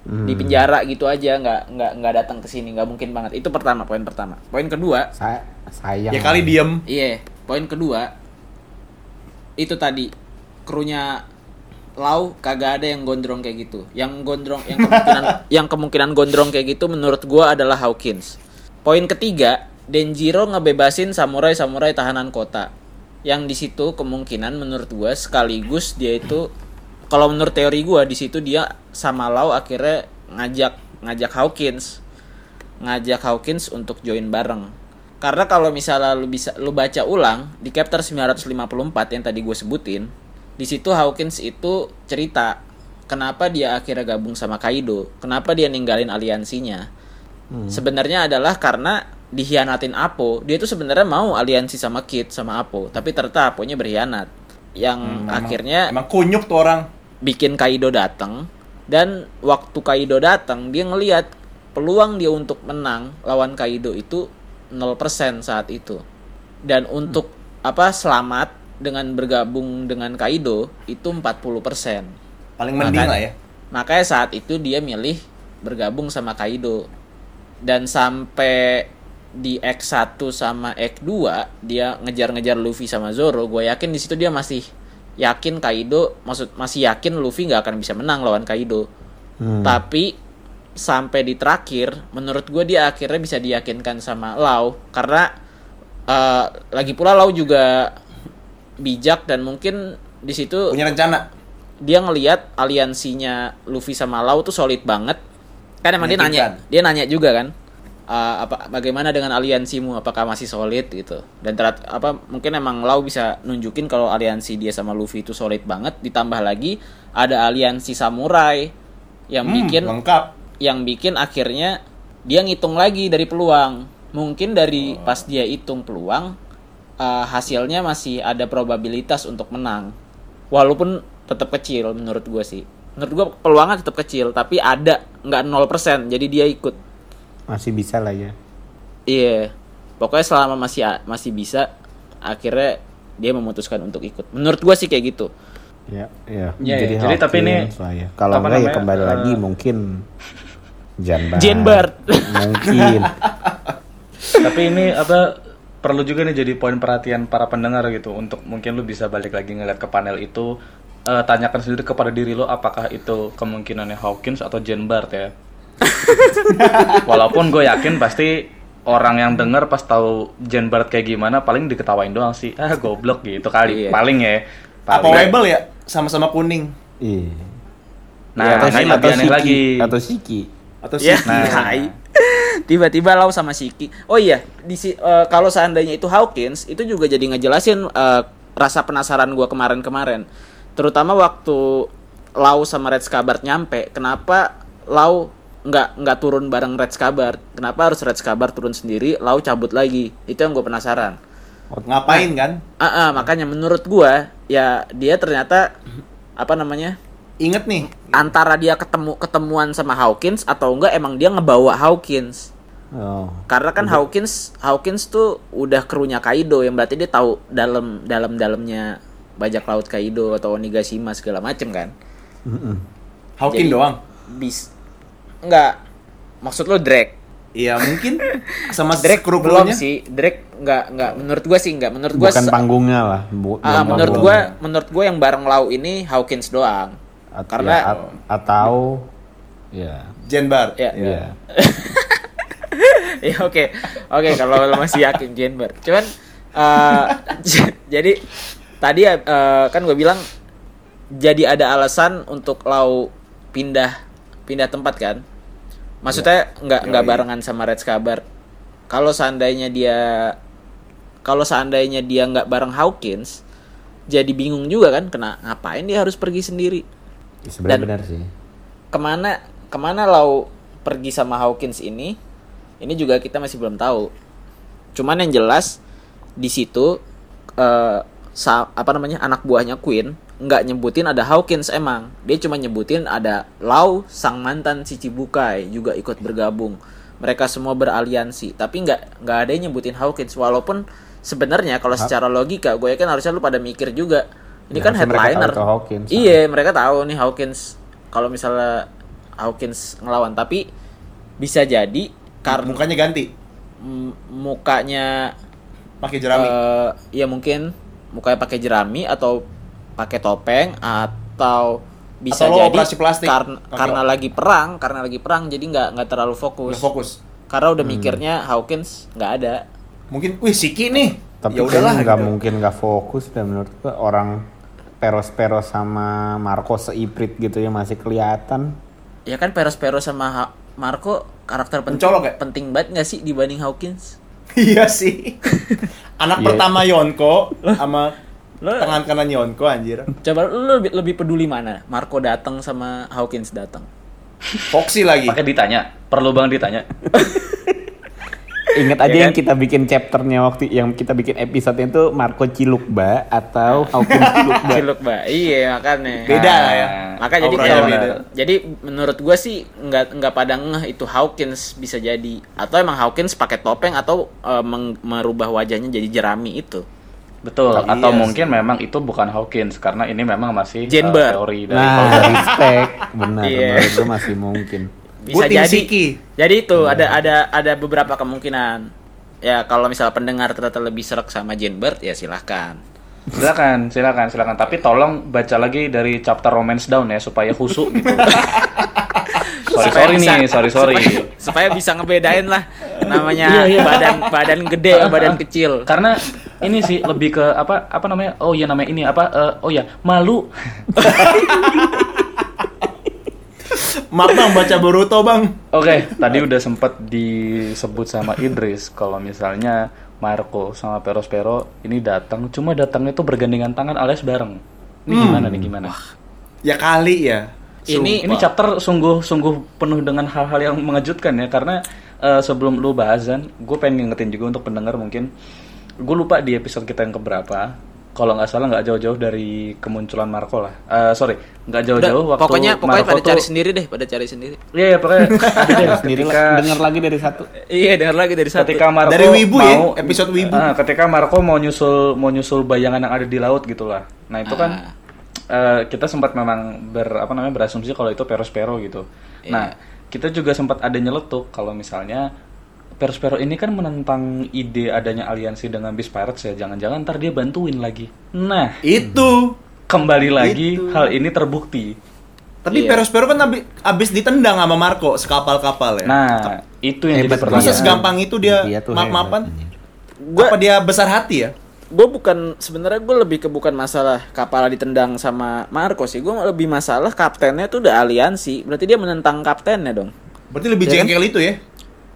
A: Hmm.
C: di penjara gitu aja nggak nggak nggak datang ke sini nggak mungkin banget. Itu pertama poin pertama. Poin kedua,
B: Sa- sayang.
D: Ya kali diem.
C: Iya, poin kedua itu tadi krunya Lau kagak ada yang gondrong kayak gitu. Yang gondrong yang kemungkinan yang kemungkinan gondrong kayak gitu menurut gua adalah Hawkins. Poin ketiga, Denjiro ngebebasin samurai-samurai tahanan kota. Yang di situ kemungkinan menurut gua sekaligus dia itu kalau menurut teori gua di situ dia sama Lau akhirnya ngajak ngajak Hawkins ngajak Hawkins untuk join bareng. Karena kalau misalnya lu bisa lu baca ulang di chapter 954 yang tadi gue sebutin, di situ Hawkins itu cerita kenapa dia akhirnya gabung sama Kaido, kenapa dia ninggalin aliansinya. Sebenarnya adalah karena dihianatin Apo. Dia tuh sebenarnya mau aliansi sama Kid sama Apo, tapi ternyata Aponya berkhianat. Yang akhirnya
D: Emang kunyuk tuh orang.
C: bikin Kaido datang dan waktu Kaido datang dia ngelihat peluang dia untuk menang lawan Kaido itu 0% saat itu. Dan untuk apa selamat dengan bergabung dengan Kaido itu 40%.
D: Paling
C: Nah, kan.
D: mending lah ya.
C: Makanya saat itu dia milih bergabung sama Kaido. Dan sampai di X1 sama X2 dia ngejar-ngejar Luffy sama Zoro. Gue yakin di situ dia masih yakin Kaido maksud masih yakin Luffy nggak akan bisa menang lawan Kaido. Tapi sampai di terakhir menurut gue dia akhirnya bisa diyakinkan sama Lau karena eh, lagi pula Lau juga bijak dan mungkin di situ
D: Punya rencana.
C: dia ngelihat aliansinya Luffy sama Lau tuh solid banget. Kan emang dia nanya,
D: Meyakinkan.
C: dia nanya juga kan. "Eh, apa bagaimana dengan aliansimu apakah masih solid gitu dan terat apa mungkin emang Lau bisa nunjukin kalau aliansi dia sama Luffy itu solid banget ditambah lagi ada aliansi samurai yang
D: Hmm,
C: bikin
D: lengkap.
C: yang bikin akhirnya dia ngitung lagi dari peluang. Mungkin dari pas dia hitung peluang eh, hasilnya masih ada probabilitas untuk menang. Walaupun tetap kecil menurut gua sih. Menurut gua peluangnya tetap kecil tapi ada nggak 0% jadi dia ikut.
B: Masih bisa lah ya.
C: Iya. Pokoknya selama masih a- masih bisa akhirnya dia memutuskan untuk ikut. Menurut gua sih kayak gitu.
B: Ya, ya.
A: Iya, iya. Jadi tapi ini-
B: Hawkins lah ya. kalau
A: apa
B: enggak ya
A: namanya,
B: kembali
A: eh,
B: lagi mungkin Janbar.
C: Janbar.
B: Mungkin.
A: Tapi ini apa perlu juga nih jadi poin perhatian para pendengar gitu untuk mungkin lu bisa balik lagi ngeliat ke panel itu eh, tanyakan sendiri kepada diri lu apakah itu kemungkinannya Hawkins atau Jane Bart ya. Walaupun gue yakin pasti orang yang dengar pas tahu Jane Bart kayak gimana paling diketawain doang sih. Ah goblok gitu kali.
C: Iya.
A: Paling ya.
D: Apa
A: Paling.
D: Webel ya? Sama-sama kuning.
B: Iya.
A: Nah,
D: Ya,
B: atau,
A: nah
B: si-
A: ini lebih
B: atau
A: aneh
B: Siki.
A: lagi.
B: Atau Siki.
D: Atau si
C: Ya,
A: Nah.
C: tai. Tiba-tiba Lau sama Siki. Oh iya, di si- eh, kalau seandainya itu Hawkins, itu juga jadi ngejelasin eh, rasa penasaran gua kemarin-kemarin. Terutama waktu Lau sama Red Skabart nyampe, kenapa Lau nggak nggak turun bareng Red Skabart? Kenapa harus Red Skabart turun sendiri, Lau cabut lagi? Itu yang gue penasaran.
D: ngapain kan?
C: Ah, ah, makanya menurut gua ya dia ternyata apa namanya?
D: Ingat nih,
C: antara dia ketemu ketemuan sama Hawkins atau enggak emang dia ngebawa Hawkins.
B: Oh.
C: Karena kan Hawkins Hawkins tuh udah krunya Kaido yang berarti dia tahu dalam dalam dalamnya bajak laut Kaido atau Onigashima segala macem kan.
B: Mm-mm.
D: Hawking
C: Jadi-
D: doang.
C: Bis enggak maksud lo Drake.
D: Iya mungkin sama
C: Drake
D: kru
C: belum sih. Drake enggak enggak menurut gua sih enggak. Menurut gua
B: Bukan
C: se-
B: panggungnya lah. bu-
C: ah,
B: bukan
C: menurut gua
B: panggungnya.
C: menurut gua yang bareng Lau ini Hawkins doang.
B: At-
C: karena-
B: ya, at- atau ya.
D: Jenbar.
C: Ya.
B: Ya.
C: ya oke oke kalau lo masih yakin Jenber cuman eh, j- jadi tadi ya eh, kan gue bilang jadi ada alasan untuk lau pindah pindah tempat kan maksudnya nggak nggak
D: Yoi.
C: barengan sama Red Kabar kalau seandainya dia kalau seandainya dia nggak bareng Hawkins jadi bingung juga kan kena ngapain dia harus pergi sendiri
B: Ya, Sebenarnya
C: Dan-
B: benar sih.
C: kemana kemana lau pergi sama Hawkins ini ini juga kita masih belum tahu cuman yang jelas di situ eh, sa- apa namanya anak buahnya Queen nggak nyebutin ada Hawkins emang dia cuma nyebutin ada Lau sang mantan si Cibukai juga ikut bergabung mereka semua beraliansi tapi nggak nggak ada yang nyebutin Hawkins walaupun sebenarnya kalau secara logika gue yakin harusnya lu pada mikir juga ini
B: Ya,
C: kan
B: harusnya mereka tahu
C: headliner
B: itu Hawkins.
C: iya Eh, mereka tahu nih Hawkins kalau misalnya Hawkins ngelawan tapi bisa jadi karena
D: Mukanya ganti,
C: mukanya
D: pakai jerami.
C: eh, ya mungkin mukanya pakai jerami atau pakai topeng atau bisa
D: Atau lo
C: jadi
D: operasi plastik.
C: karena
D: Pakai
C: karena
D: o-
C: lagi perang karena lagi perang jadi nggak nggak terlalu
D: Udah
C: fokus
D: fokus.
C: karena udah mikirnya Hawkins nggak ada
D: Mungkin, wih Siki nih.
B: Tapi
D: ya udahlah.
B: nggak
D: gitu.
B: mungkin nggak fokus dan menurut gua orang Peros-Peros sama Marcos seiprit gitu ya masih kelihatan.
C: ya kan Peros Peros sama Ha- Marco karakter penting
D: Mencolok ya?
C: penting banget nggak sih dibanding Hawkins
D: Iya sih. Anak
B: Iya.
D: pertama Yonko sama
C: Lo-
D: tangan kanan Yonko anjir.
C: Coba lu lebih, lebih peduli mana? Marco datang sama Hawkins datang.
D: Foxy lagi.
A: Pakai ditanya. Perlu banget ditanya.
B: Ingat aja yang kita bikin chapternya waktu yang kita bikin episode itu Marco Cilukba atau Hawkins Cilukba.
C: Ciluk, Mbak. Iya, makanya.
D: Beda
A: Nah,
D: lah ya.
C: Maka jadi
D: Auranya
C: kalau
D: beda.
C: jadi menurut gua sih nggak nggak pada ngeh itu Hawkins bisa jadi atau emang Hawkins pakai topeng atau eh, meng- merubah wajahnya jadi jerami itu.
A: Betul,
D: Tapi
A: atau
D: iya
A: mungkin memang itu bukan Hawkins karena ini memang masih uh,
C: Jane Bird.
A: teori dari
B: Nah, respect. Benar,
C: Iya.
B: menurut gua masih mungkin.
C: Bisa
D: Gua tim
C: jadi.
D: Siki. Iya.
C: Jadi itu ada ada ada beberapa kemungkinan. Ya kalau misalnya pendengar ternyata lebih serak sama Jenbert ya silahkan.
A: Silakan, silakan, silakan. Tapi tolong baca lagi dari chapter Romance Down ya supaya khusuk gitu. sorry
C: Supaya
A: sorry
C: bisa-
A: nih, sorry sorry.
C: Supaya, supaya bisa ngebedain lah namanya badan badan gede badan kecil.
A: Karena ini sih lebih ke apa apa namanya? Oh ya namanya ini apa? Eh, oh ya malu.
D: Mak bang baca Boruto bang.
A: Oke, tadi udah sempat disebut sama Idris kalau misalnya Marco sama Peros Pero ini datang, cuma datangnya tuh bergandengan tangan alias bareng. Ini gimana nih gimana?
D: Ya kali ya.
C: Ini
A: ini chapter sungguh sungguh penuh dengan hal-hal yang mengejutkan ya karena eh, sebelum lu bahasan gue pengen ngingetin juga untuk pendengar mungkin gue lupa di episode kita yang keberapa kalau nggak salah nggak jauh-jauh dari kemunculan Marco lah Eh, sorry nggak
C: Udah,
A: jauh-jauh waktu
C: pokoknya pokoknya
A: Marco
C: pada
A: tuh-
C: cari sendiri deh, pada cari sendiri.
A: iya iya, pokoknya ada deh,
B: Sendiri
A: ketika
B: lah, dengar lagi dari satu.
C: Iya, dengar lagi dari satu.
A: ketika Marco
D: Dari Wibu
A: mau,
D: ya, episode Wibu.
A: Ah, ketika Marco mau nyusul mau nyusul bayangan yang ada di laut gitulah nah itu kan eh,
C: Ah.
A: kita sempat memang ber apa namanya
C: Iya.
A: berasumsi kalau itu peros pero gitu nah kita juga sempat ada nyeletuk kalau misalnya Perspero ini kan menentang ide adanya aliansi dengan Beast Pirates ya. Jangan-jangan ntar dia bantuin lagi. Nah,
D: Itu.
A: kembali lagi
D: Gitu.
A: hal ini terbukti.
D: Tapi
C: Iya.
D: Perospero kan abis, abis ditendang sama Marco sekapal-kapal ya.
A: Nah, iya. itu yang jadi
B: Hebat
D: Masa
A: pertanyaan.
D: segampang itu dia,
B: Dia tuh hebat,
D: maaf-maafan?
B: anjing.
C: Gua-
D: Apa dia besar hati ya?
C: gue bukan sebenarnya gue lebih ke bukan masalah kepala ditendang sama Marco sih gue lebih masalah kaptennya tuh udah aliansi berarti dia menentang kaptennya dong
D: Berarti lebih
C: Iya kan?
D: jengkel itu ya?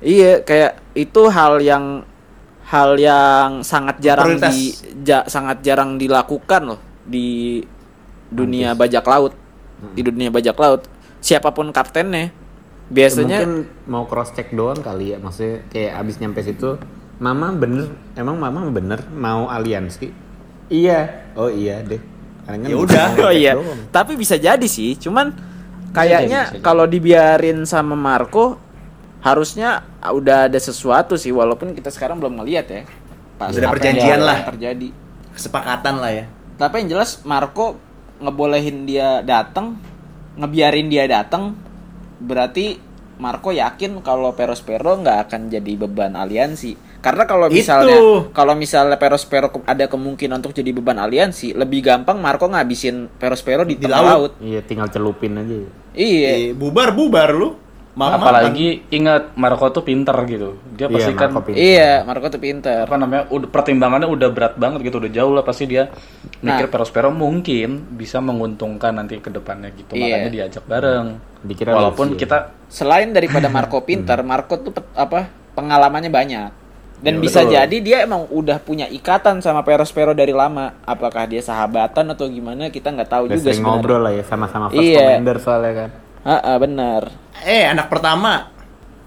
C: iya kayak itu hal yang hal yang sangat jarang
D: Prioritas.
C: di ja- sangat jarang dilakukan loh di dunia bajak laut di dunia bajak laut siapapun kaptennya biasanya
B: Ya, mungkin mau cross check doang kali ya maksudnya kayak abis nyampe situ mama bener emang mama bener mau aliansi iya oh iya deh Palingan
D: Ya
B: mau
D: udah.
B: cross-check
C: Oh iya,
B: doang.
C: tapi bisa jadi sih. Cuman
B: jadi, bisa
C: kayaknya
B: jadi.
C: kalau dibiarin sama Marco harusnya udah ada sesuatu sih walaupun kita sekarang belum ngelihat ya. Pas
D: Udah ada
C: apa yang-
D: perjanjian
C: apa
D: lah.
C: yang terjadi.
D: Kesepakatan lah ya.
C: Tapi yang jelas Marco ngebolehin dia datang, ngebiarin dia datang berarti Marco yakin kalau Perospero nggak akan jadi beban aliansi. Karena kalau
D: Itu.
C: misalnya kalau misalnya Perospero ke- ada kemungkinan untuk jadi beban aliansi, lebih gampang Marco ngabisin Perospero di,
D: Di
C: tengah
D: laut.
C: laut.
B: iya tinggal celupin aja
C: Iya.
D: Eh, bubar-bubar lu. Maaf-maafan.
A: Apalagi
D: kan?
A: ingat Marco tuh pinter gitu. Dia
B: Iya,
A: pasti kan
B: Marco pinter.
C: Iya, Marco tuh pinter.
A: apa namanya udah pertimbangannya udah berat banget gitu udah jauh lah pasti dia
C: Nah.
A: mikir Perospero mungkin bisa menguntungkan nanti ke depannya gitu
C: Iya.
A: makanya diajak bareng
B: Dikira
A: walaupun
B: lucu ya.
A: kita
C: Selain daripada Marco pinter, Marco tuh pet- apa pengalamannya banyak. Dan
A: Iya,
C: bisa
A: betul.
C: jadi dia emang udah punya ikatan sama Perospero dari lama. Apakah dia sahabatan atau gimana kita nggak tahu
B: udah
C: Oh, juga
B: sering
C: sebenarnya.
B: ngobrol lah ya sama-sama first
C: Iya.
B: commander soalnya kan
C: Ah, ah, benar.
D: Eh, anak pertama.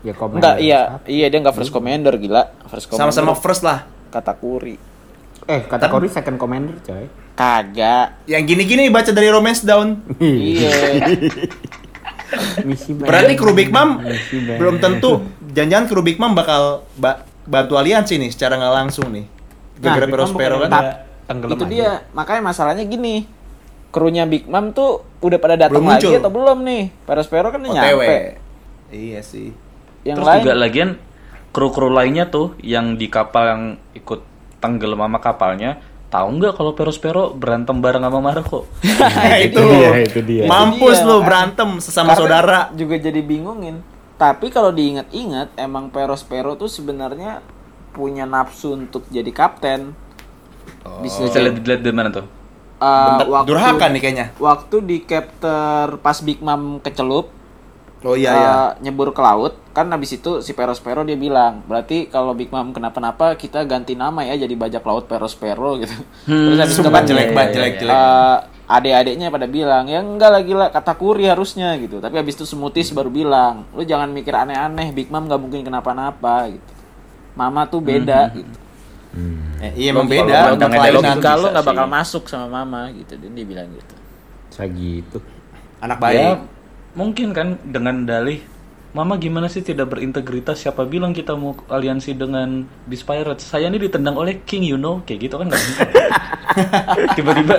B: ya commander
C: Enggak, iya,
B: apa?
C: iya dia nggak first commander gila. First commander
D: Sama-sama first lah.
C: kata Kuri.
B: eh
C: Kan-
B: kategori second commander coy
C: Kagak.
D: Yang gini-gini baca dari Romance Down.
C: Iya.
B: misi banget.
D: Berarti kru Big Mom
B: Misi banget.
D: belum tentu. Jangan-jangan kru Big Mom bakal ba- bantu aliansi nih secara nggak langsung nih.
B: Nah,
C: Nah,
D: Gara-gara
B: Big Mom
D: Perospero
B: bukan
D: kan.
B: tetap tenggelam
C: itu
B: aja.
C: dia makanya masalahnya gini krunya Big Mom tuh udah pada datang
D: Belum
C: lagi
D: muncul.
C: atau belum nih Perospero kan udah
D: OTW.
C: nyampe
D: Iya sih.
C: yang
A: terus
C: lain
A: juga lagian kru-kru lainnya tuh yang di kapal yang ikut tenggelam sama kapalnya tahu nggak kalau Perospero berantem bareng sama Marco
D: Nah, itu.
B: dia, itu dia.
D: Mampus
C: Itu dia,
D: lu
C: makanya.
D: berantem sesama
C: Karena
D: saudara.
C: juga jadi bingungin tapi kalau diingat-ingat emang Perospero tuh sebenarnya punya nafsu untuk jadi kapten bisa
A: Oh. bisa
C: jadi
A: lihat lihat di mana tuh
C: uh,
D: Oh. Bentar,
C: waktu
D: durhaka nih kayaknya.
C: waktu di capture pas Big Mom kecelup
D: Oh iya
C: eh,
D: iya.
C: nyebur ke laut kan habis itu si Perospero dia bilang berarti kalau Big Mom kenapa-napa kita ganti nama ya jadi bajak laut Perospero gitu terus habis itu
D: Sumpah
C: kan
D: jelek
A: iya,
D: banget
A: iya,
D: jelek
A: iya.
D: jelek.
C: eh, adik-adiknya pada bilang ya enggak lagi lah kata kuri harusnya gitu tapi habis itu semutis baru bilang lu jangan mikir aneh-aneh Big Mom nggak mungkin kenapa-napa gitu Mama tuh beda gitu
D: Eh, iya emang
A: Kalau
D: beda,
A: kalau
D: udah
A: nggak ada
D: kelainan.
A: logika.
C: kalau
A: bisa
C: nggak bakal
A: sih.
C: masuk sama Mama gitu dan dia bilang gitu
B: Kayak gitu
A: Ya,
D: Anak baik.
A: mungkin kan dengan dalih Mama gimana sih tidak berintegritas? Siapa bilang kita mau aliansi dengan Beast Pirates? Saya ini ditendang oleh King, you know, kayak gitu kan nggak mungkin. Tiba-tiba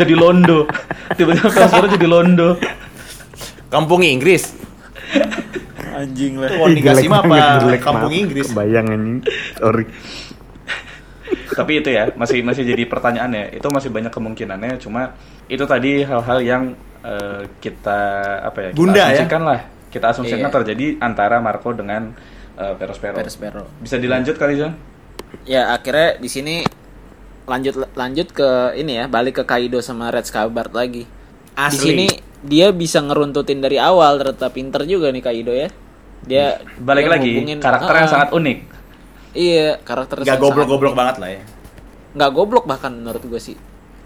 A: jadi londo, tiba-tiba transfer jadi londo.
D: Kampung Inggris.
C: anjing lah
D: Itu Onigashima
B: Jelek banget,
D: apa
B: jelek
D: Kampung
B: banget.
D: Inggris?
B: kebayang anjing sorry
A: Tapi itu ya masih masih jadi pertanyaan ya. Itu masih banyak kemungkinannya. Cuma itu tadi hal-hal yang eh, kita apa ya? Kita
D: Bunda ya?
A: asumsikan lah. Kita asumsikan
C: Iya.
A: terjadi antara Marco dengan eh, Perospero.
C: Perospero
A: Bisa dilanjut kali, Jan?
C: ya akhirnya di sini lanjut lanjut ke ini ya balik ke Kaido sama Red Scabbard lagi di
D: Asli.
C: sini dia bisa ngeruntutin dari awal ternyata pinter juga nih Kaido ya dia
A: Balik
C: dia
A: lagi
C: ngehubungin-
A: karakter yang
C: Ah, ah.
A: sangat unik.
C: iya karakter
D: Gak goblok-goblok banget lah ya.
C: nggak goblok bahkan menurut gue sih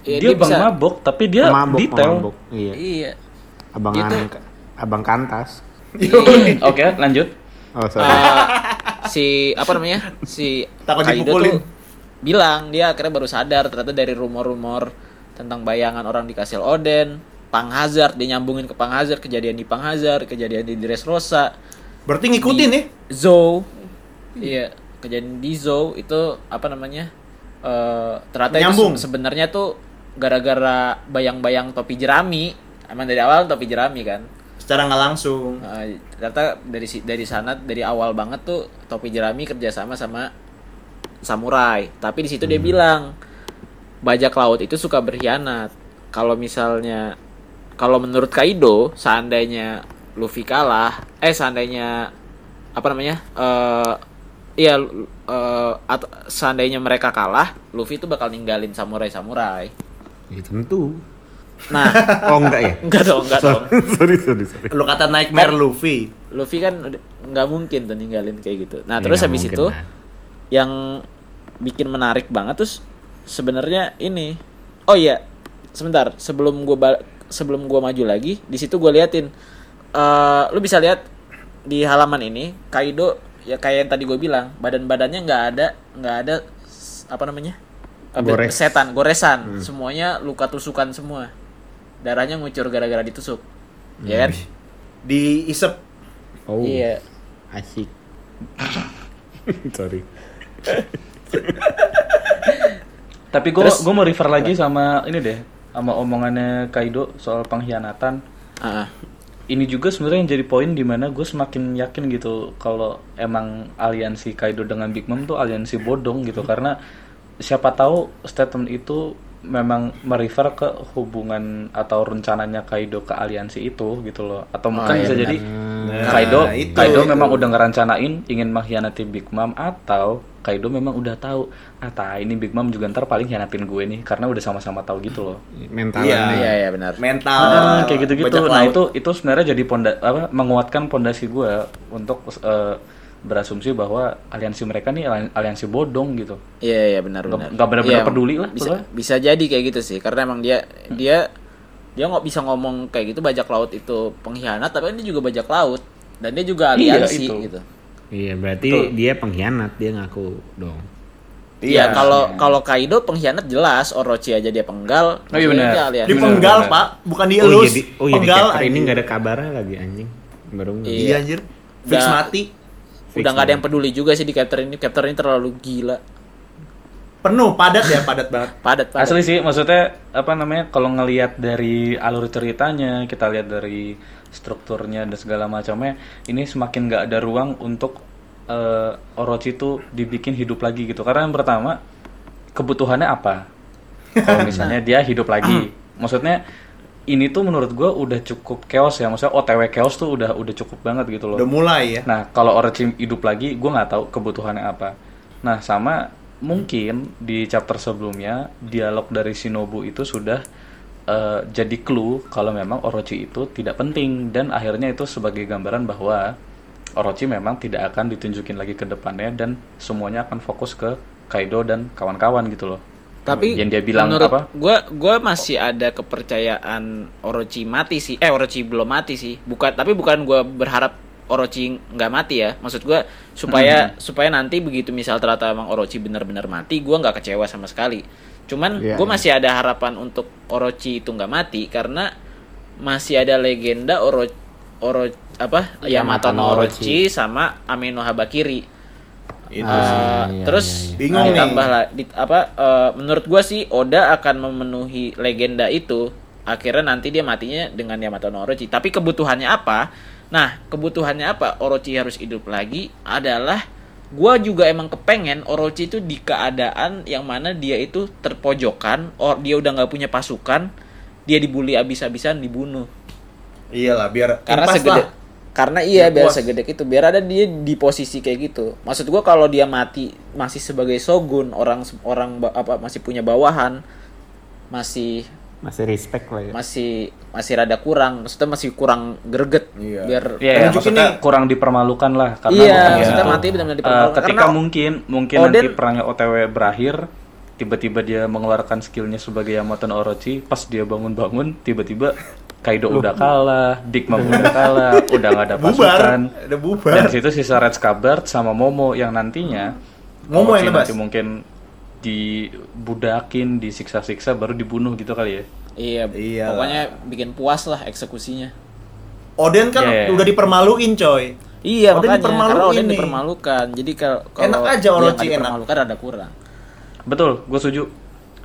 C: Iya,
A: dia, bang ya?
C: bisa-
A: mabok tapi dia
B: mabuk
A: Ya, detail.
B: mabuk iya
C: iya
B: abang
C: Dia tuh-
B: An- abang kantas
A: Oke,
C: Iya.
A: lanjut.
B: oh sorry
C: Eh, si apa namanya si
D: Takut
C: Kaido
D: dipukulin.
C: tuh bilang dia akhirnya baru sadar ternyata dari rumor-rumor tentang bayangan orang di Kastil Oden Pang Hazard dia nyambungin ke Pang Hazard kejadian di Pang Hazard kejadian di Dressrosa
D: Berarti ngikutin ya.
C: Zou iya kejadian di Zou itu apa namanya eh ternyata itu
D: Nyambung.
C: se- sebenarnya tuh gara-gara bayang-bayang topi jerami emang dari awal topi jerami kan
D: secara nggak langsung.
C: Nah, ternyata dari si- dari sana dari awal banget tuh topi jerami kerjasama sama samurai. Tapi di situ dia bilang bajak laut itu suka berkhianat. Kalau misalnya kalau menurut Kaido seandainya Luffy kalah, eh seandainya apa namanya? eh iya eh, atau seandainya mereka kalah, Luffy itu bakal ninggalin samurai-samurai.
B: Ya, tentu.
C: Nah,
B: Oh enggak ya?
C: enggak dong, enggak dong.
B: sorry, sorry, sorry.
D: Lu kata nightmare Luffy.
C: Luffy kan udah- nggak mungkin tuh ninggalin kayak gitu. Nah
B: Ya,
C: terus
B: nggak
C: habis
B: mungkin
C: itu
B: lah.
C: yang bikin menarik banget terus sebenarnya ini. Oh iya, sebentar sebelum gua bal- sebelum gua maju lagi di situ gua liatin. Eh, lu bisa lihat di halaman ini Kaido ya kayak yang tadi gue bilang badan-badannya nggak ada nggak ada s- apa namanya Eh, be-
B: Gores. Hmm.
C: setan goresan semuanya luka tusukan semua darahnya ngucur gara-gara ditusuk ya kan
D: Di isep
B: Hmm. Oh,
C: iya
B: asik. sorry.
A: Tapi gue
C: Terus-
A: gue mau refer lagi sama ini deh, sama omongannya Kaido soal pengkhianatan.
C: Ah, ah.
A: Ini juga sebenarnya yang jadi poin dimana gue semakin yakin gitu kalau emang aliansi Kaido dengan Big Mom tuh aliansi bodong gitu karena siapa tahu statement itu memang merefer ke hubungan atau rencananya Kaido ke aliansi itu gitu loh atau mungkin bisa jadi
D: Ah, Nah,
A: Kaido
D: itu,
A: Kaido
D: itu.
A: memang udah ngerencanain ingin mengkhianati Big Mom atau Kaido memang udah tahu ah tai, ini Big Mom juga ntar paling hianatin gue nih karena udah sama-sama tahu gitu loh
B: Mentalnya.
C: Iya iya benar.
D: mental.
A: Ah, kayak gitu-gitu.
D: bajak
A: Nah
D: laut.
A: itu itu sebenarnya jadi ponda apa menguatkan pondasi gue untuk eh, berasumsi bahwa aliansi mereka nih alian- aliansi bodong gitu.
C: Iya iya benar
A: Nggak-
C: benar.
A: nggak benar-benar
C: Iya,
A: peduli lah,
C: Bisa
A: pokoknya.
C: bisa jadi kayak gitu sih karena emang dia dia dia nggak bisa ngomong kayak gitu bajak laut itu pengkhianat tapi kan dia juga bajak laut dan dia juga
A: Iya,
C: aliansi
A: itu.
C: gitu.
B: Iya, berarti
A: Betul.
B: dia pengkhianat, dia ngaku dong.
C: Iya kalau kalau Kaido pengkhianat jelas Orochi aja dia penggal.
A: Oh, iya,
C: maksudnya
A: benar.
C: dia aliansi.
D: Di
A: Bener,
D: penggal,
A: bener.
D: Pak, bukan di
B: oh,
D: elus.
B: jadi, oh, iya, di
D: penggal.
B: chapter ini
D: anjing.
B: nggak ada kabarnya lagi anjing. Baru nggak.
C: Iya.
D: Iya anjir. Fix
C: Nggak.
D: mati.
C: Udah nggak ada yang peduli juga sih di chapter ini. Chapter ini terlalu gila.
D: Penuh, padat ya, padat banget.
C: Padat padat.
A: Asli sih maksudnya apa namanya kalau ngelihat dari alur ceritanya kita lihat dari strukturnya dan segala macamnya ini semakin nggak ada ruang untuk eh, Orochi itu dibikin hidup lagi gitu karena yang pertama kebutuhannya apa kalau misalnya dia hidup lagi maksudnya ini tuh menurut gua udah cukup chaos ya maksudnya OTW chaos tuh udah udah cukup banget gitu loh
D: Udah mulai ya.
A: Nah, kalau Orochi hidup lagi, gue nggak tahu kebutuhannya apa. Nah, sama mungkin di chapter sebelumnya dialog dari Shinobu itu sudah eh, jadi clue kalau memang Orochi itu tidak penting dan akhirnya itu sebagai gambaran bahwa Orochi memang tidak akan ditunjukin lagi ke depannya dan semuanya akan fokus ke Kaido dan kawan-kawan gitu loh.
C: Tapi
A: Yang dia bilang
C: menurut
A: apa?
C: Gua gua masih ada kepercayaan Orochi mati sih. Eh Orochi belum mati sih. Bukan tapi bukan gua berharap Orochi nggak mati ya. Maksud gua supaya supaya nanti begitu misal ternyata emang Orochi benar-benar mati, gua nggak kecewa sama sekali. Cuman
B: Iya,
C: gua
B: iya.
C: masih ada harapan untuk Orochi itu nggak mati karena masih ada legenda Orochi Oro apa Yamato
B: Yamato
C: no
B: no
C: Orochi
B: Orochi.
C: sama Ameno Habakiri.
D: Itu
C: Uh,
B: iya,
C: terus
B: iya, iya.
D: Gitu Bingung
C: ditambah
D: nih.
C: lah di- apa uh, menurut gua sih Oda akan memenuhi legenda itu akhirnya nanti dia matinya dengan Yamato no Orochi tapi kebutuhannya apa nah kebutuhannya apa Orochi harus hidup lagi adalah gua juga emang kepengen Orochi itu di keadaan yang mana dia itu terpojokan or dia udah nggak punya pasukan dia dibully abis-abisan dibunuh
D: Iyalah, biar
C: karena
D: impas
C: segede
D: lah.
C: karena iya biar
D: Biar puas.
C: segede itu biar ada dia di posisi kayak gitu maksud gua kalau dia mati masih sebagai shogun orang orang ba- apa masih punya bawahan masih
B: Masih respect lah
D: Iya.
B: ya.
C: masih masih rada kurang maksudnya masih kurang greget
D: Iya.
C: biar
A: Iya,
D: Tunjukin
A: maksudnya
D: nih.
A: kurang dipermalukan lah karena
C: Iya,
A: bukan
C: maksudnya
A: gitu.
C: mati benar-benar
A: Eh,
C: dipermalukan.
A: ketika
C: Karena
A: mungkin mungkin
C: Oden-
A: nanti perangnya OTW berakhir, tiba-tiba dia mengeluarkan skillnya sebagai Yamato no Orochi, pas dia bangun-bangun tiba-tiba Kaido udah kalah, Big Mom udah kalah, udah nggak ada
D: bubar.
A: pasukan.
D: Ada bubar.
A: Dan situ sisa Red Scabbard sama Momo yang nantinya
D: Momo
A: Orochi
D: yang lebas.
A: nanti mungkin dibudakin, disiksa-siksa baru dibunuh gitu kali ya.
C: iya
D: Iya lah.
C: pokoknya bikin puas lah eksekusinya
D: Oden kan
A: Iya.
D: udah dipermaluin, coy.
C: iya makanya
D: Oden
C: karena
D: dipermaluin
C: Oden
D: nih.
C: dipermalukan jadi kalau kalau
D: Enak aja
C: dia nggak
D: Orochi, enak.
C: dipermalukan rada kurang
A: Betul, gue setuju.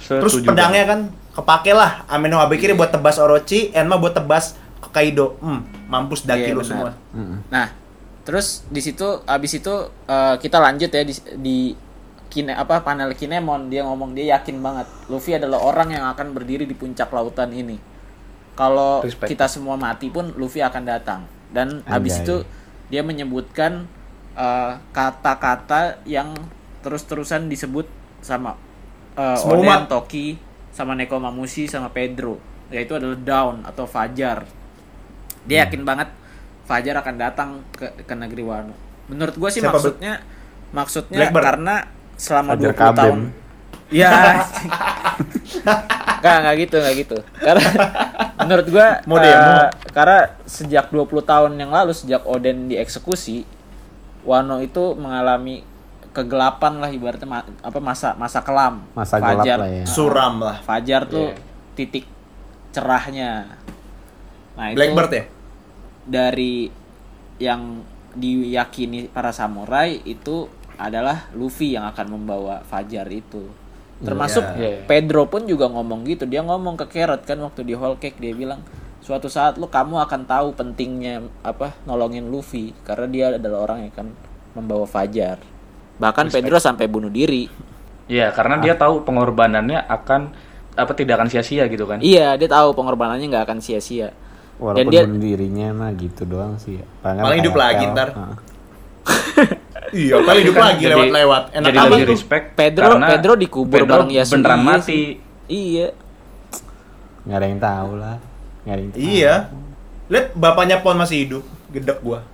D: Terus
A: Setuju Iya.
D: pedangnya kan kepake lah Ameno Habikiri buat tebas Orochi, Enma buat tebas Kaido. Hmm, mampus daki
C: Iya,
D: lu
C: benar.
D: semua.
C: Nah, terus di situ abis itu eh, kita lanjut ya di, di kine apa panel Kinemon dia ngomong dia yakin banget Luffy adalah orang yang akan berdiri di puncak lautan ini. Kalau
A: Respect.
C: kita semua mati pun Luffy akan datang. Dan abis
B: Anjay.
C: itu dia menyebutkan eh, kata-kata yang terus-terusan disebut sama eh,
D: Semua
C: Oden,
D: umat.
C: Toki, sama Nekomamushi, sama Pedro. Yaitu adalah Dawn atau Fajar dia yakin banget Fajar akan datang ke, ke negeri Wano. Menurut gua sih
D: Siapa, Bro?
C: maksudnya maksudnya
D: Blackbird?
C: karena selama
B: Fajar
C: 20
B: Kabem.
C: tahun. Ya. Enggak, enggak gitu, enggak gitu. Karena menurut gua
D: Mau
C: eh,
D: demo.
C: karena sejak 20 tahun yang lalu sejak Oden dieksekusi Wano itu mengalami kegelapan lah ibaratnya ma- apa masa masa kelam.
B: Masa gelap lah ya.
D: Suram lah.
C: Fajar tuh
D: Iya.
C: titik cerahnya. Nah, itu-
D: Blackbird ya?
C: dari yang diyakini para samurai itu adalah Luffy yang akan membawa Fajar itu. Termasuk
A: Iya.
C: Pedro pun juga ngomong gitu. Dia ngomong ke Carrot kan waktu di Whole Cake dia bilang suatu saat lu kamu akan tahu pentingnya apa nolongin Luffy karena dia adalah orang yang akan membawa Fajar. Bahkan Pedro sampai bunuh diri.
A: Iya, karena
D: Ah.
A: dia tahu pengorbanannya akan apa tidak akan sia-sia gitu kan.
C: Iya, dia tahu pengorbanannya nggak akan sia-sia. Dan
B: Walaupun
C: dia
B: bunuh dirinya mah gitu doang sih. ya.
D: Paling hidup
B: kayak
D: lagi
B: pel.
D: ntar.
B: Heeh.
D: Iya, paling hidup
A: Kan
D: lagi
A: jadi-
D: lewat-lewat. Enak
A: Jadi
D: amat
A: lebih
D: tuh.
A: respect
C: Pedro
A: karena
C: Pedro dikubur
A: Pedro
C: bareng Yasuo.
A: beneran mati.
C: Iya.
B: Nggak ada yang tahu lah. Nggak ada yang tahu.
D: Iya. Lihat bapaknya Pon masih hidup. Gedek gua.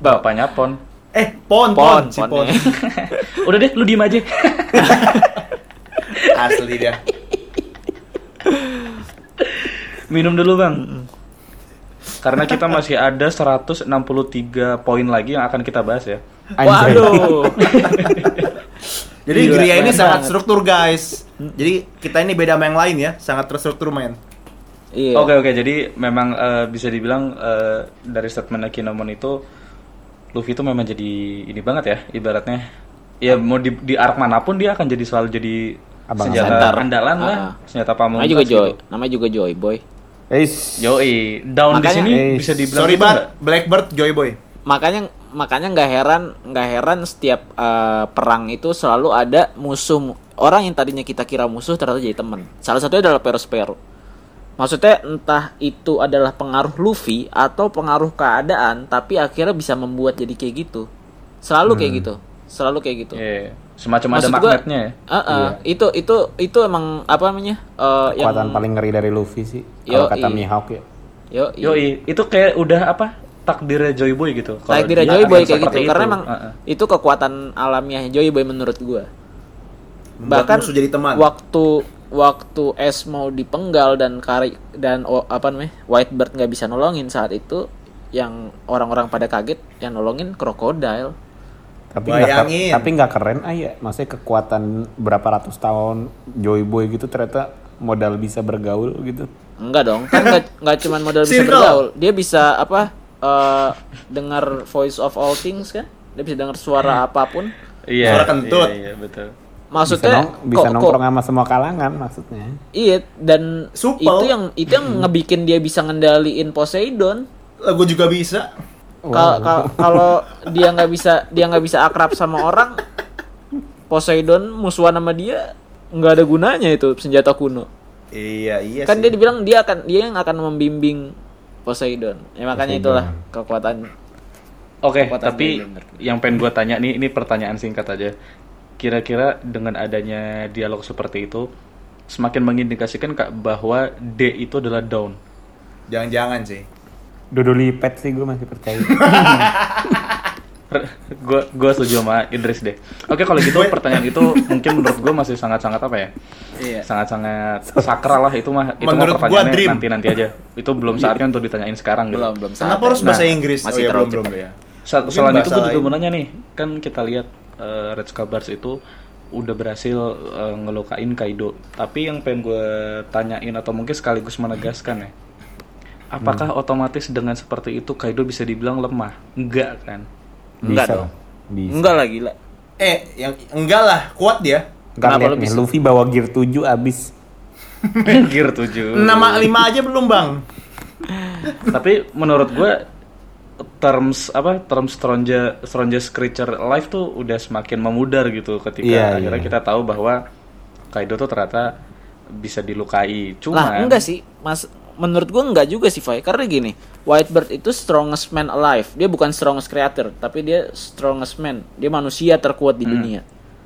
A: Bapaknya pon.
D: Eh, Pon, Pon,
C: Pon,
D: si Pon.
C: Ponnya.
A: Udah deh, lu diem aja.
D: Asli dia.
A: Minum dulu, Bang. Karena kita masih ada 163 poin lagi yang akan kita bahas ya.
B: Anjay.
C: Waduh.
D: Jadi
C: Gila,
D: Gria ini
C: keren
D: sangat
C: banget.
D: struktur, guys. Jadi kita ini beda sama yang lain ya, sangat terstruktur men.
C: Iya.
A: Oke oke jadi memang eh, bisa dibilang eh, dari statementnya Kinemon itu Luffy itu memang jadi ini banget ya ibaratnya
C: Ah.
A: ya mau di, di arc manapun dia akan jadi selalu jadi
B: Abang
A: senjata
C: center.
A: andalan lah
C: Iya, Ah.
A: senjata pamungkas
C: Namanya juga Joy.
A: gitu.
C: Namanya juga Joy Boy.
B: Eish.
A: Yoi down di
C: Makanya-
A: sini
B: Eh,
A: bisa dibilang
D: Sorry
A: gitu nggak?
D: banget, Blackbird, Joy Boy.
C: Makanya makanya nggak heran nggak heran setiap eh, perang itu selalu ada musuh orang yang tadinya kita kira musuh ternyata jadi teman. Salah satunya adalah Perospero. Maksudnya entah itu adalah pengaruh Luffy atau pengaruh keadaan, tapi akhirnya bisa membuat jadi kayak gitu. Selalu kayak gitu. Selalu kayak gitu.
A: Hmm. Iya, semacam ada
C: Maksud gua-
A: magnetnya ya.
C: Eh, eh, itu itu itu emang apa namanya? Eh,
B: Kekuatan
C: yang
B: paling ngeri dari Luffy sih. Kalau
C: Yoi.
B: kata Mihawk ya.
C: Yo, iya.
A: Yoi itu kayak udah apa takdirnya Joy Boy gitu Kalau dia
C: Takdir Joy
A: akan
C: Boy kayak gitu
A: seperti itu.
C: karena
A: Ah,
C: emang
A: Heeh.
C: itu kekuatan alamiah Joy Boy menurut gua.
D: Membuat
C: Bahkan
D: musuh jadi teman.
C: waktu waktu es mau dipenggal dan kari dan o- apa namanya Whitebird nggak bisa nolongin saat itu yang orang-orang pada kaget yang nolongin krokodil
B: Tapi nggak ker-
D: Bayangin.
B: tapi nggak keren ah ya. Maksudnya kekuatan berapa ratus tahun Joy Boy gitu ternyata modal bisa bergaul gitu.
C: enggak dong kan nggak nggak cuman modal bisa
D: Circle.
C: bergaul dia bisa apa eh, dengar voice of all things kan dia bisa dengar
D: Hmm.
C: suara apapun
A: iya
D: Suara kentut.
A: iya, iya, betul
B: Bisa,
C: maksudnya
B: nong- bisa
C: kok- kok-
B: nongkrong sama semua kalangan maksudnya.
C: Iya dan
D: Supel.
C: itu yang itu yang ngebikin dia bisa ngendaliin Poseidon.
D: Lah, Eh, gua juga bisa.
C: Ka- ka- Kalau dia nggak bisa dia nggak bisa akrab sama orang, Poseidon musuhan sama dia nggak ada gunanya itu senjata kuno.
D: Iya, iya
C: kan
D: sih.
C: dia dibilang dia akan dia yang akan membimbing Poseidon. Ya makanya
B: Poseidon.
C: itulah kekuatan.
A: Oke,
C: Kekuatan
A: tapi
C: dia bener.
A: yang pengen gue tanya nih, ini pertanyaan singkat aja. Kira-kira dengan adanya dialog seperti itu, semakin mengindikasikan Kak, bahwa D itu adalah down.
D: Jangan-jangan sih.
B: Dodo lipet sih gue masih percaya.
A: gue gue setuju sama Idris deh. Oke, kalau gitu pertanyaan itu mungkin menurut gue masih sangat-sangat apa ya?
C: Iya.
A: Sangat-sangat sakral lah itu mah. Itu
D: Menurut
A: mah
D: gua
A: pertanyaannya
D: dream.
A: nanti-nanti aja. Itu belum saatnya untuk ditanyain sekarang gitu.
C: Belum belum
D: Kenapa
C: saatnya.
D: harus bahasa
A: Nah,
D: Inggris?
C: masih
D: iya,
C: terlalu
D: belum,
C: cepat.
D: belum ya.
A: Sa-
D: Mungkin
A: selain itu
D: bahasa
A: gue juga
D: lain.
A: mau nanya nih, kan kita lihat eh, Red Scabbards itu udah berhasil eh, ngelukain Kaido. Tapi yang pengen gue tanyain atau mungkin sekaligus menegaskan ya, apakah otomatis dengan seperti itu Kaido bisa dibilang lemah? Enggak kan?
C: Enggak
B: Bisa.
C: dong.
B: Bisa.
C: Enggak lah gila.
D: Eh, yang enggak lah, kuat dia.
B: Ntar
C: Kenapa
B: lihat
C: lu
B: nih,
C: bisa?
B: Luffy bawa gear 7 abis.
A: Gear 7.
D: Nama lima aja belum, Bang.
A: Nah, Tapi menurut gua terms apa terms stronja strongest creature alive tuh udah semakin memudar gitu ketika
B: Iya,
A: akhirnya
B: iya.
A: kita tahu bahwa Kaido tuh ternyata bisa dilukai.
C: lah
A: Cuma
C: enggak sih mas menurut gua enggak juga sih Fai karena gini Whitebird itu strongest man alive dia bukan strongest creator tapi dia strongest man dia manusia terkuat
A: Hmm.
C: di dunia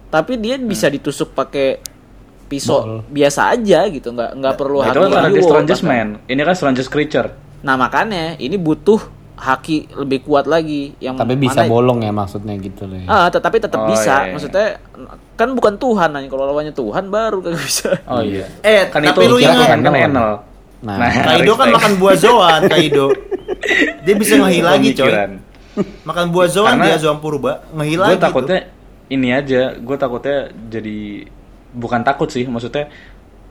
C: tapi dia bisa ditusuk pakai pisau biasa aja gitu nggak nggak perlu
A: Nah, itu kan
C: haki
A: karena
C: Yayoi
A: dia strongest man.
C: bahkan.
A: Ini kan strongest creature.
C: nah makanya ini butuh haki lebih kuat lagi yang
B: Tapi bisa
C: Hmm, mana-
B: bolong ya maksudnya gitu loh.
C: Ah,
B: ya.
C: tetapi tetap
A: Oh, iya,
C: bisa.
A: iya.
C: Maksudnya kan bukan Tuhan nanya kalau lawannya Tuhan baru kagak bisa.
A: Oh iya.
D: Eh,
A: Kan
D: tapi
A: itu
D: lu
A: kira
D: ingat
A: kan kan
B: Enel.
A: enel.
B: Nah,
D: Kaido kan
A: respect.
D: makan buah zoan, Kaido. Dia bisa ngehi lagi, coy.
A: Iya. Pemikiran.
D: Makan buah zoan
A: Karena
D: dia zoan purba, ngehi
A: gue
D: lagi. tuh.
A: takutnya ini aja gue takutnya jadi bukan takut sih maksudnya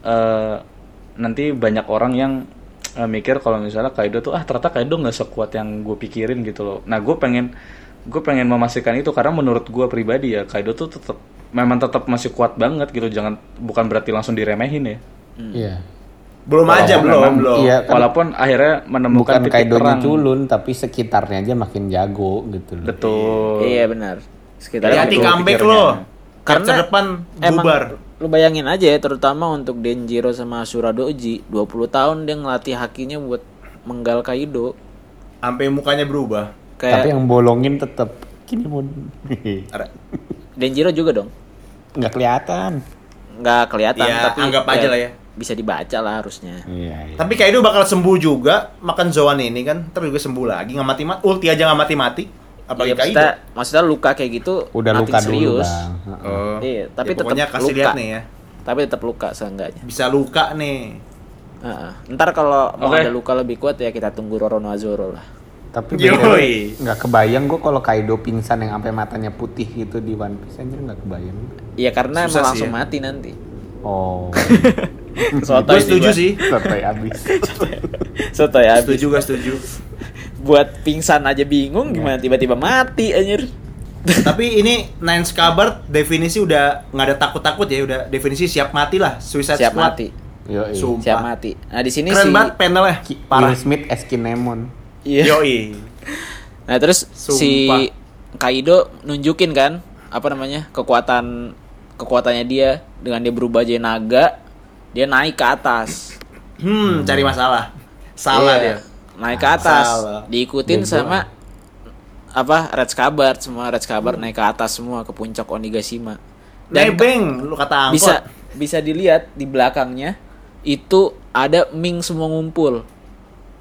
A: eh, nanti banyak orang yang eh, mikir kalau misalnya Kaido tuh ah ternyata Kaido nggak sekuat yang gue pikirin gitu loh nah gue pengen gue pengen memastikan itu karena menurut gue pribadi ya Kaido tuh tetap memang tetap masih kuat banget gitu jangan bukan berarti langsung diremehin ya
B: Iya.
D: Belum aja,
A: Walaupun
D: belum,
A: memang-
D: belum.
B: Iya, kan-
A: walaupun akhirnya menemukan
B: Bukan
A: titik
B: Kaidonya
A: terang
B: culun, tapi sekitarnya aja makin jago gitu loh.
A: betul
C: Iya benar. Sekitar
D: Hati-hati
A: Betul
D: comeback
A: pikirnya.
D: lo.
C: iya, Karena
D: Karena depan
C: emang
D: bubar.
C: lu bayangin aja ya terutama untuk Denjiro sama Asura Doji 20 tahun dia ngelatih hakinya buat menggal Kaido
D: Sampai mukanya berubah.
B: Tapi
C: kayak
B: yang bolongin tetap gini mun.
D: Ada-
C: Denjiro juga dong
B: Nggak kelihatan.
C: nggak kelihatan
D: Ya,
C: tapi
D: anggap aja lah ya.
C: bisa dibaca lah harusnya
B: Iya. iya.
D: Tapi Kaido bakal sembuh juga makan zoan ini kan, terus juga sembuh lagi nggak mati mati. Ulti aja nggak mati mati.
C: Iya,
D: Apalagi Kaido.
C: maksudnya, maksudnya luka kayak gitu
B: udah
C: nothing
B: luka dulu,
C: serius
B: Bang. Heeh.
D: Oh.
C: Iya, tapi tetap
D: pokoknya kasih
C: luka.
D: lihat nih ya.
C: tapi tetap luka seenggaknya
D: Bisa luka nih.
C: Heeh. ntar kalau mau
A: Oke.
C: ada luka lebih kuat ya kita tunggu Roronoa Zoro lah
B: Tapi
D: Yoi.
B: bener, nggak kebayang gue kalau Kaido pingsan yang sampai matanya putih gitu di One Piece anjir nggak kebayang.
C: Iya karena emang
D: Susah sih
C: langsung
D: ya.
C: mati nanti
B: Oh,
D: Gue setuju sih.
B: sampai habis.
C: Soto ya
D: Setuju gak setuju.
C: buat pingsan aja
D: Iya.
C: bingung gimana tiba-tiba mati anjir.
D: Tapi ini Nine Scabbard definisi udah nggak ada takut-takut ya, udah definisi siap mati lah, Suicide
C: Siap
D: Squad.
C: mati.
B: Yoi.
D: Sumpah.
C: Siap mati. Nah, di sini
D: Keren
C: si
D: banget panelnya,
B: Ki-
D: parah.
B: Will Smith Eskinemon.
C: Iya.
D: Yoi.
C: Nah, terus si Kaido nunjukin kan apa namanya? kekuatan kekuatannya dia dengan dia berubah jadi naga, dia naik ke atas.
D: Hmm, cari masalah. Salah
C: Iya,
D: dia.
C: Naik ke atas.
D: Salah.
C: Diikutin
B: Bego.
C: sama apa? Red Scabbard, semua Red
D: Hmm.
C: Scabbard naik ke atas semua ke puncak Onigashima. Dan
D: Nebeng, lu kata angkot.
C: bisa bisa dilihat di belakangnya itu ada Ming semua ngumpul.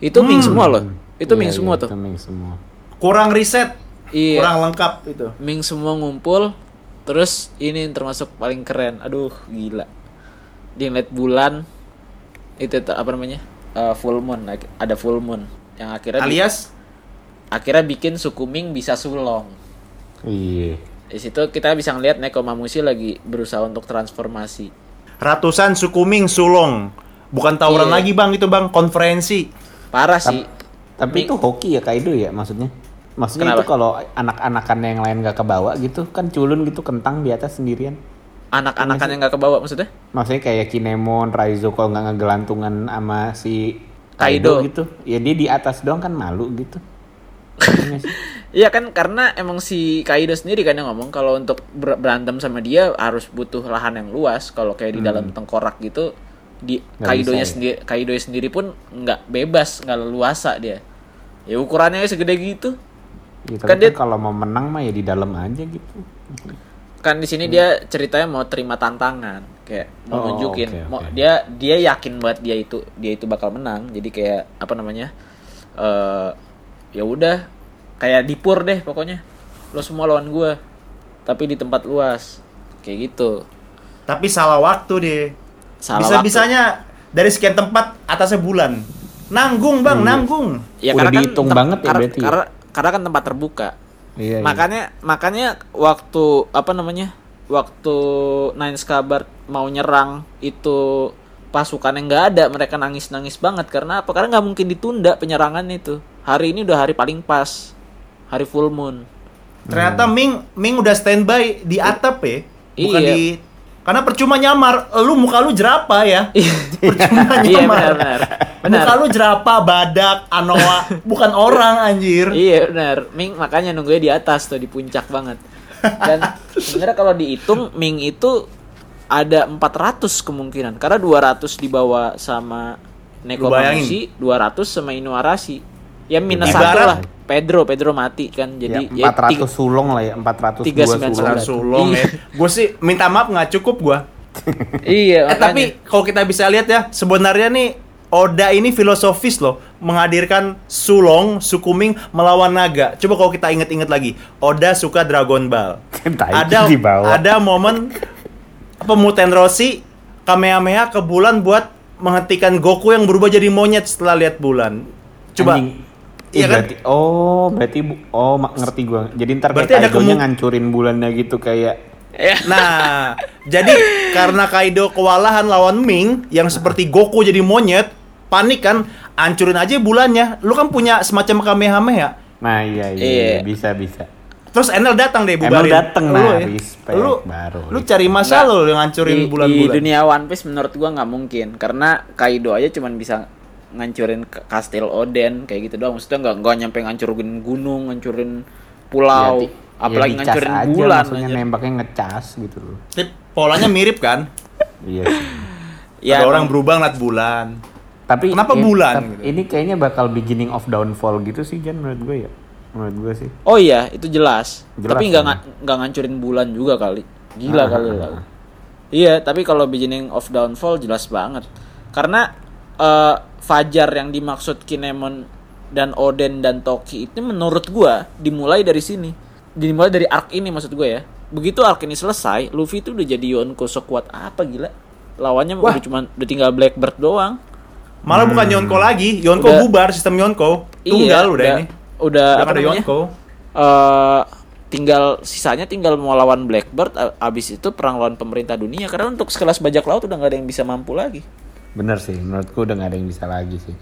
C: Itu Ming semua loh. Itu Ming
B: Hmm. Iya,
C: semua
B: iya,
C: tuh.
B: Itu Ming semua.
D: Kurang riset,
C: Iya.
D: kurang lengkap itu.
C: Ming semua ngumpul. Terus ini yang termasuk paling keren. Aduh, gila. Dia ngeliat bulan itu tuh, apa namanya? Eh, full moon. Ak- Ada full moon yang akhirnya bi-
D: Alias
C: akhirnya bikin suku Ming bisa sulong.
B: Iya.
C: Di situ kita bisa ngeliat Nekomamushi lagi berusaha untuk transformasi.
D: ratusan suku Ming sulong. Bukan tawuran
C: Iya.
D: lagi, Bang, itu Bang, konferensi.
C: Parah
B: Tap-
C: sih.
B: Tapi
C: Ming-
B: itu hoki ya Kaido ya maksudnya. Maksudnya
C: Kenapa?
B: itu kalau anak-anakannya yang lain gak kebawa gitu kan culun gitu kentang di atas sendirian.
C: Anak-anakan yang nggak kebawa maksudnya?
B: Maksudnya kayak Kinemon, Raizo kalau nggak ngegelantungan sama si
C: Kaido.
B: Kaido, gitu. Ya dia di atas doang kan malu gitu. Iya sih.
C: Iya kan karena emang si Kaido sendiri kan yang ngomong kalau untuk ber- berantem sama dia harus butuh lahan yang luas kalau kayak di dalam tengkorak gitu di
B: Hmm. Nggak
C: Kaidonya
B: bisa ya.
C: sendiri Kaidonya sendiri pun nggak bebas nggak leluasa dia ya ukurannya segede gitu
B: Ya, tapi
C: Kan
B: kan
C: dia-
B: kalau mau menang mah ya di dalam aja gitu.
C: kan di sini dia ceritanya mau terima tantangan kayak mau
B: Hmm. Oh,
C: nunjukin
B: oke,
C: mau-
B: oke.
C: dia dia yakin banget dia itu dia itu bakal menang jadi kayak apa namanya eh ya udah kayak dipur deh pokoknya lo semua lawan gua tapi di tempat luas kayak gitu
D: Tapi salah waktu deh.
C: Salah
D: Bisa-bisanya dari sekian tempat atasnya bulan.
C: Iya.
D: Nanggung, Bang, nanggung.
B: Udah dihitung banget ya
C: kar-
B: berarti ya?
C: kan karena karena kan tempat terbuka
B: Iya.
C: makanya makanya waktu apa namanya waktu Nine Scabbard mau nyerang itu pasukan yang nggak ada mereka nangis nangis banget karena apa karena nggak mungkin ditunda penyerangan itu hari ini udah hari paling pas hari full moon
D: Ternyata Ming Ming udah standby di atap ya, bukan
C: Hmm. Iya.
D: di karena percuma nyamar, lu muka lu jerapa ya. percuma
C: iya
D: nyamar.
C: benar Benar.
D: Muka lu jerapa, badak, anoa, bukan orang anjir.
C: Iya benar. Ming makanya nunggunya di atas tuh di puncak banget. Dan sebenarnya kalau dihitung Ming itu ada 400 kemungkinan karena 200 dibawa sama Neko
D: Lu bayangin.
C: Mamushi, 200 sama Inuarashi. Ya minus
D: Ibarat-
C: satu lah. Pedro, Pedro mati kan. Jadi ya,
B: ya, 400
C: tiga-
B: sulung lah ya,
C: 399.
B: 402 sulung.
D: Sulong ya.
C: Iya.
D: Gue sih minta maaf nggak cukup gua.
C: Iya,
D: Eh,
C: makanya.
D: tapi kalau kita bisa lihat ya, sebenarnya nih Oda ini filosofis loh, menghadirkan Sulong, Sukuming melawan naga. Coba kalau kita inget-inget lagi, Oda suka Dragon Ball.
B: Entah itu
D: ada
B: di bawah.
D: ada momen pemuten Rossi Kamehameha ke bulan buat menghentikan Goku yang berubah jadi monyet setelah lihat bulan. Coba
B: Anjing.
D: Iya
B: Iya
D: kan?
B: berarti, Oh, berarti bu- oh mak- ngerti gua. Jadi ntar
D: Berarti
B: kayak
D: ada
B: Kaido-nya
D: kemu-
B: ngancurin bulannya gitu kayak
D: Nah, jadi karena Kaido kewalahan lawan Ming yang seperti Goku jadi monyet, panik kan, ancurin aja bulannya. Lu kan punya semacam Kamehameha.
B: Nah, iya iya,
C: Iya.
B: iya, bisa bisa.
D: Terus Enel datang deh
B: Enel
D: bubarin.
B: datang,
D: Lu
B: nah,
D: ya.
B: respect,
D: lu,
B: baru.
D: Lu cari masalah lu yang ngancurin
C: Nah, di,
D: bulan-bulan.
C: di dunia One Piece menurut gua nggak mungkin karena Kaido aja cuman bisa ngancurin ke- kastil Oden kayak gitu doang maksudnya nggak nggak nyampe ngancurin gunung ngancurin pulau
B: Ya, di-
C: apalagi
B: ya, dicas
C: ngancurin
B: aja,
C: bulan
B: maksudnya
C: anjir.
B: nembaknya ngecas gitu loh.
D: Tapi polanya mirip kan?
B: Iya sih.
C: ya
D: Ada orang berubah ngeliat bulan.
B: Tapi
D: Kenapa
B: ini-
D: bulan?
B: tap- Ini kayaknya bakal beginning of downfall gitu sih Jan menurut gue ya. Menurut gue sih.
C: oh iya itu jelas,
B: Jelas
C: tapi nggak
B: kan?
C: nga- nggak ngancurin bulan juga kali gila
B: Ah.
C: kali lah iya tapi kalau beginning of downfall jelas banget karena eh, Fajar yang dimaksud Kinemon dan Oden dan Toki itu menurut gua dimulai dari sini dimulai dari arc ini maksud gua ya begitu arc ini selesai Luffy itu udah jadi Yonko sekuat apa gila lawannya
D: Wah.
C: udah cuma udah tinggal Blackbird doang
D: Malah
B: Hmm.
D: bukan Yonko lagi, Yonko
C: Udah.
D: bubar sistem Yonko.
C: Iya,
D: Tunggal udah ini.
C: udah
D: Udah
C: apa
D: ada
C: namanya
D: Yonko.
C: eh tinggal sisanya tinggal mau lawan Blackbird a- abis itu perang lawan pemerintah dunia karena untuk sekelas bajak laut udah nggak ada yang bisa mampu lagi
B: Bener sih, menurutku udah nggak ada yang bisa lagi sih.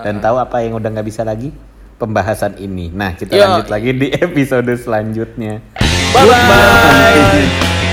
B: Dan tahu apa yang udah nggak bisa lagi? Pembahasan ini. Nah, kita
C: Yo.
B: lanjut lagi di episode selanjutnya.
C: bye bye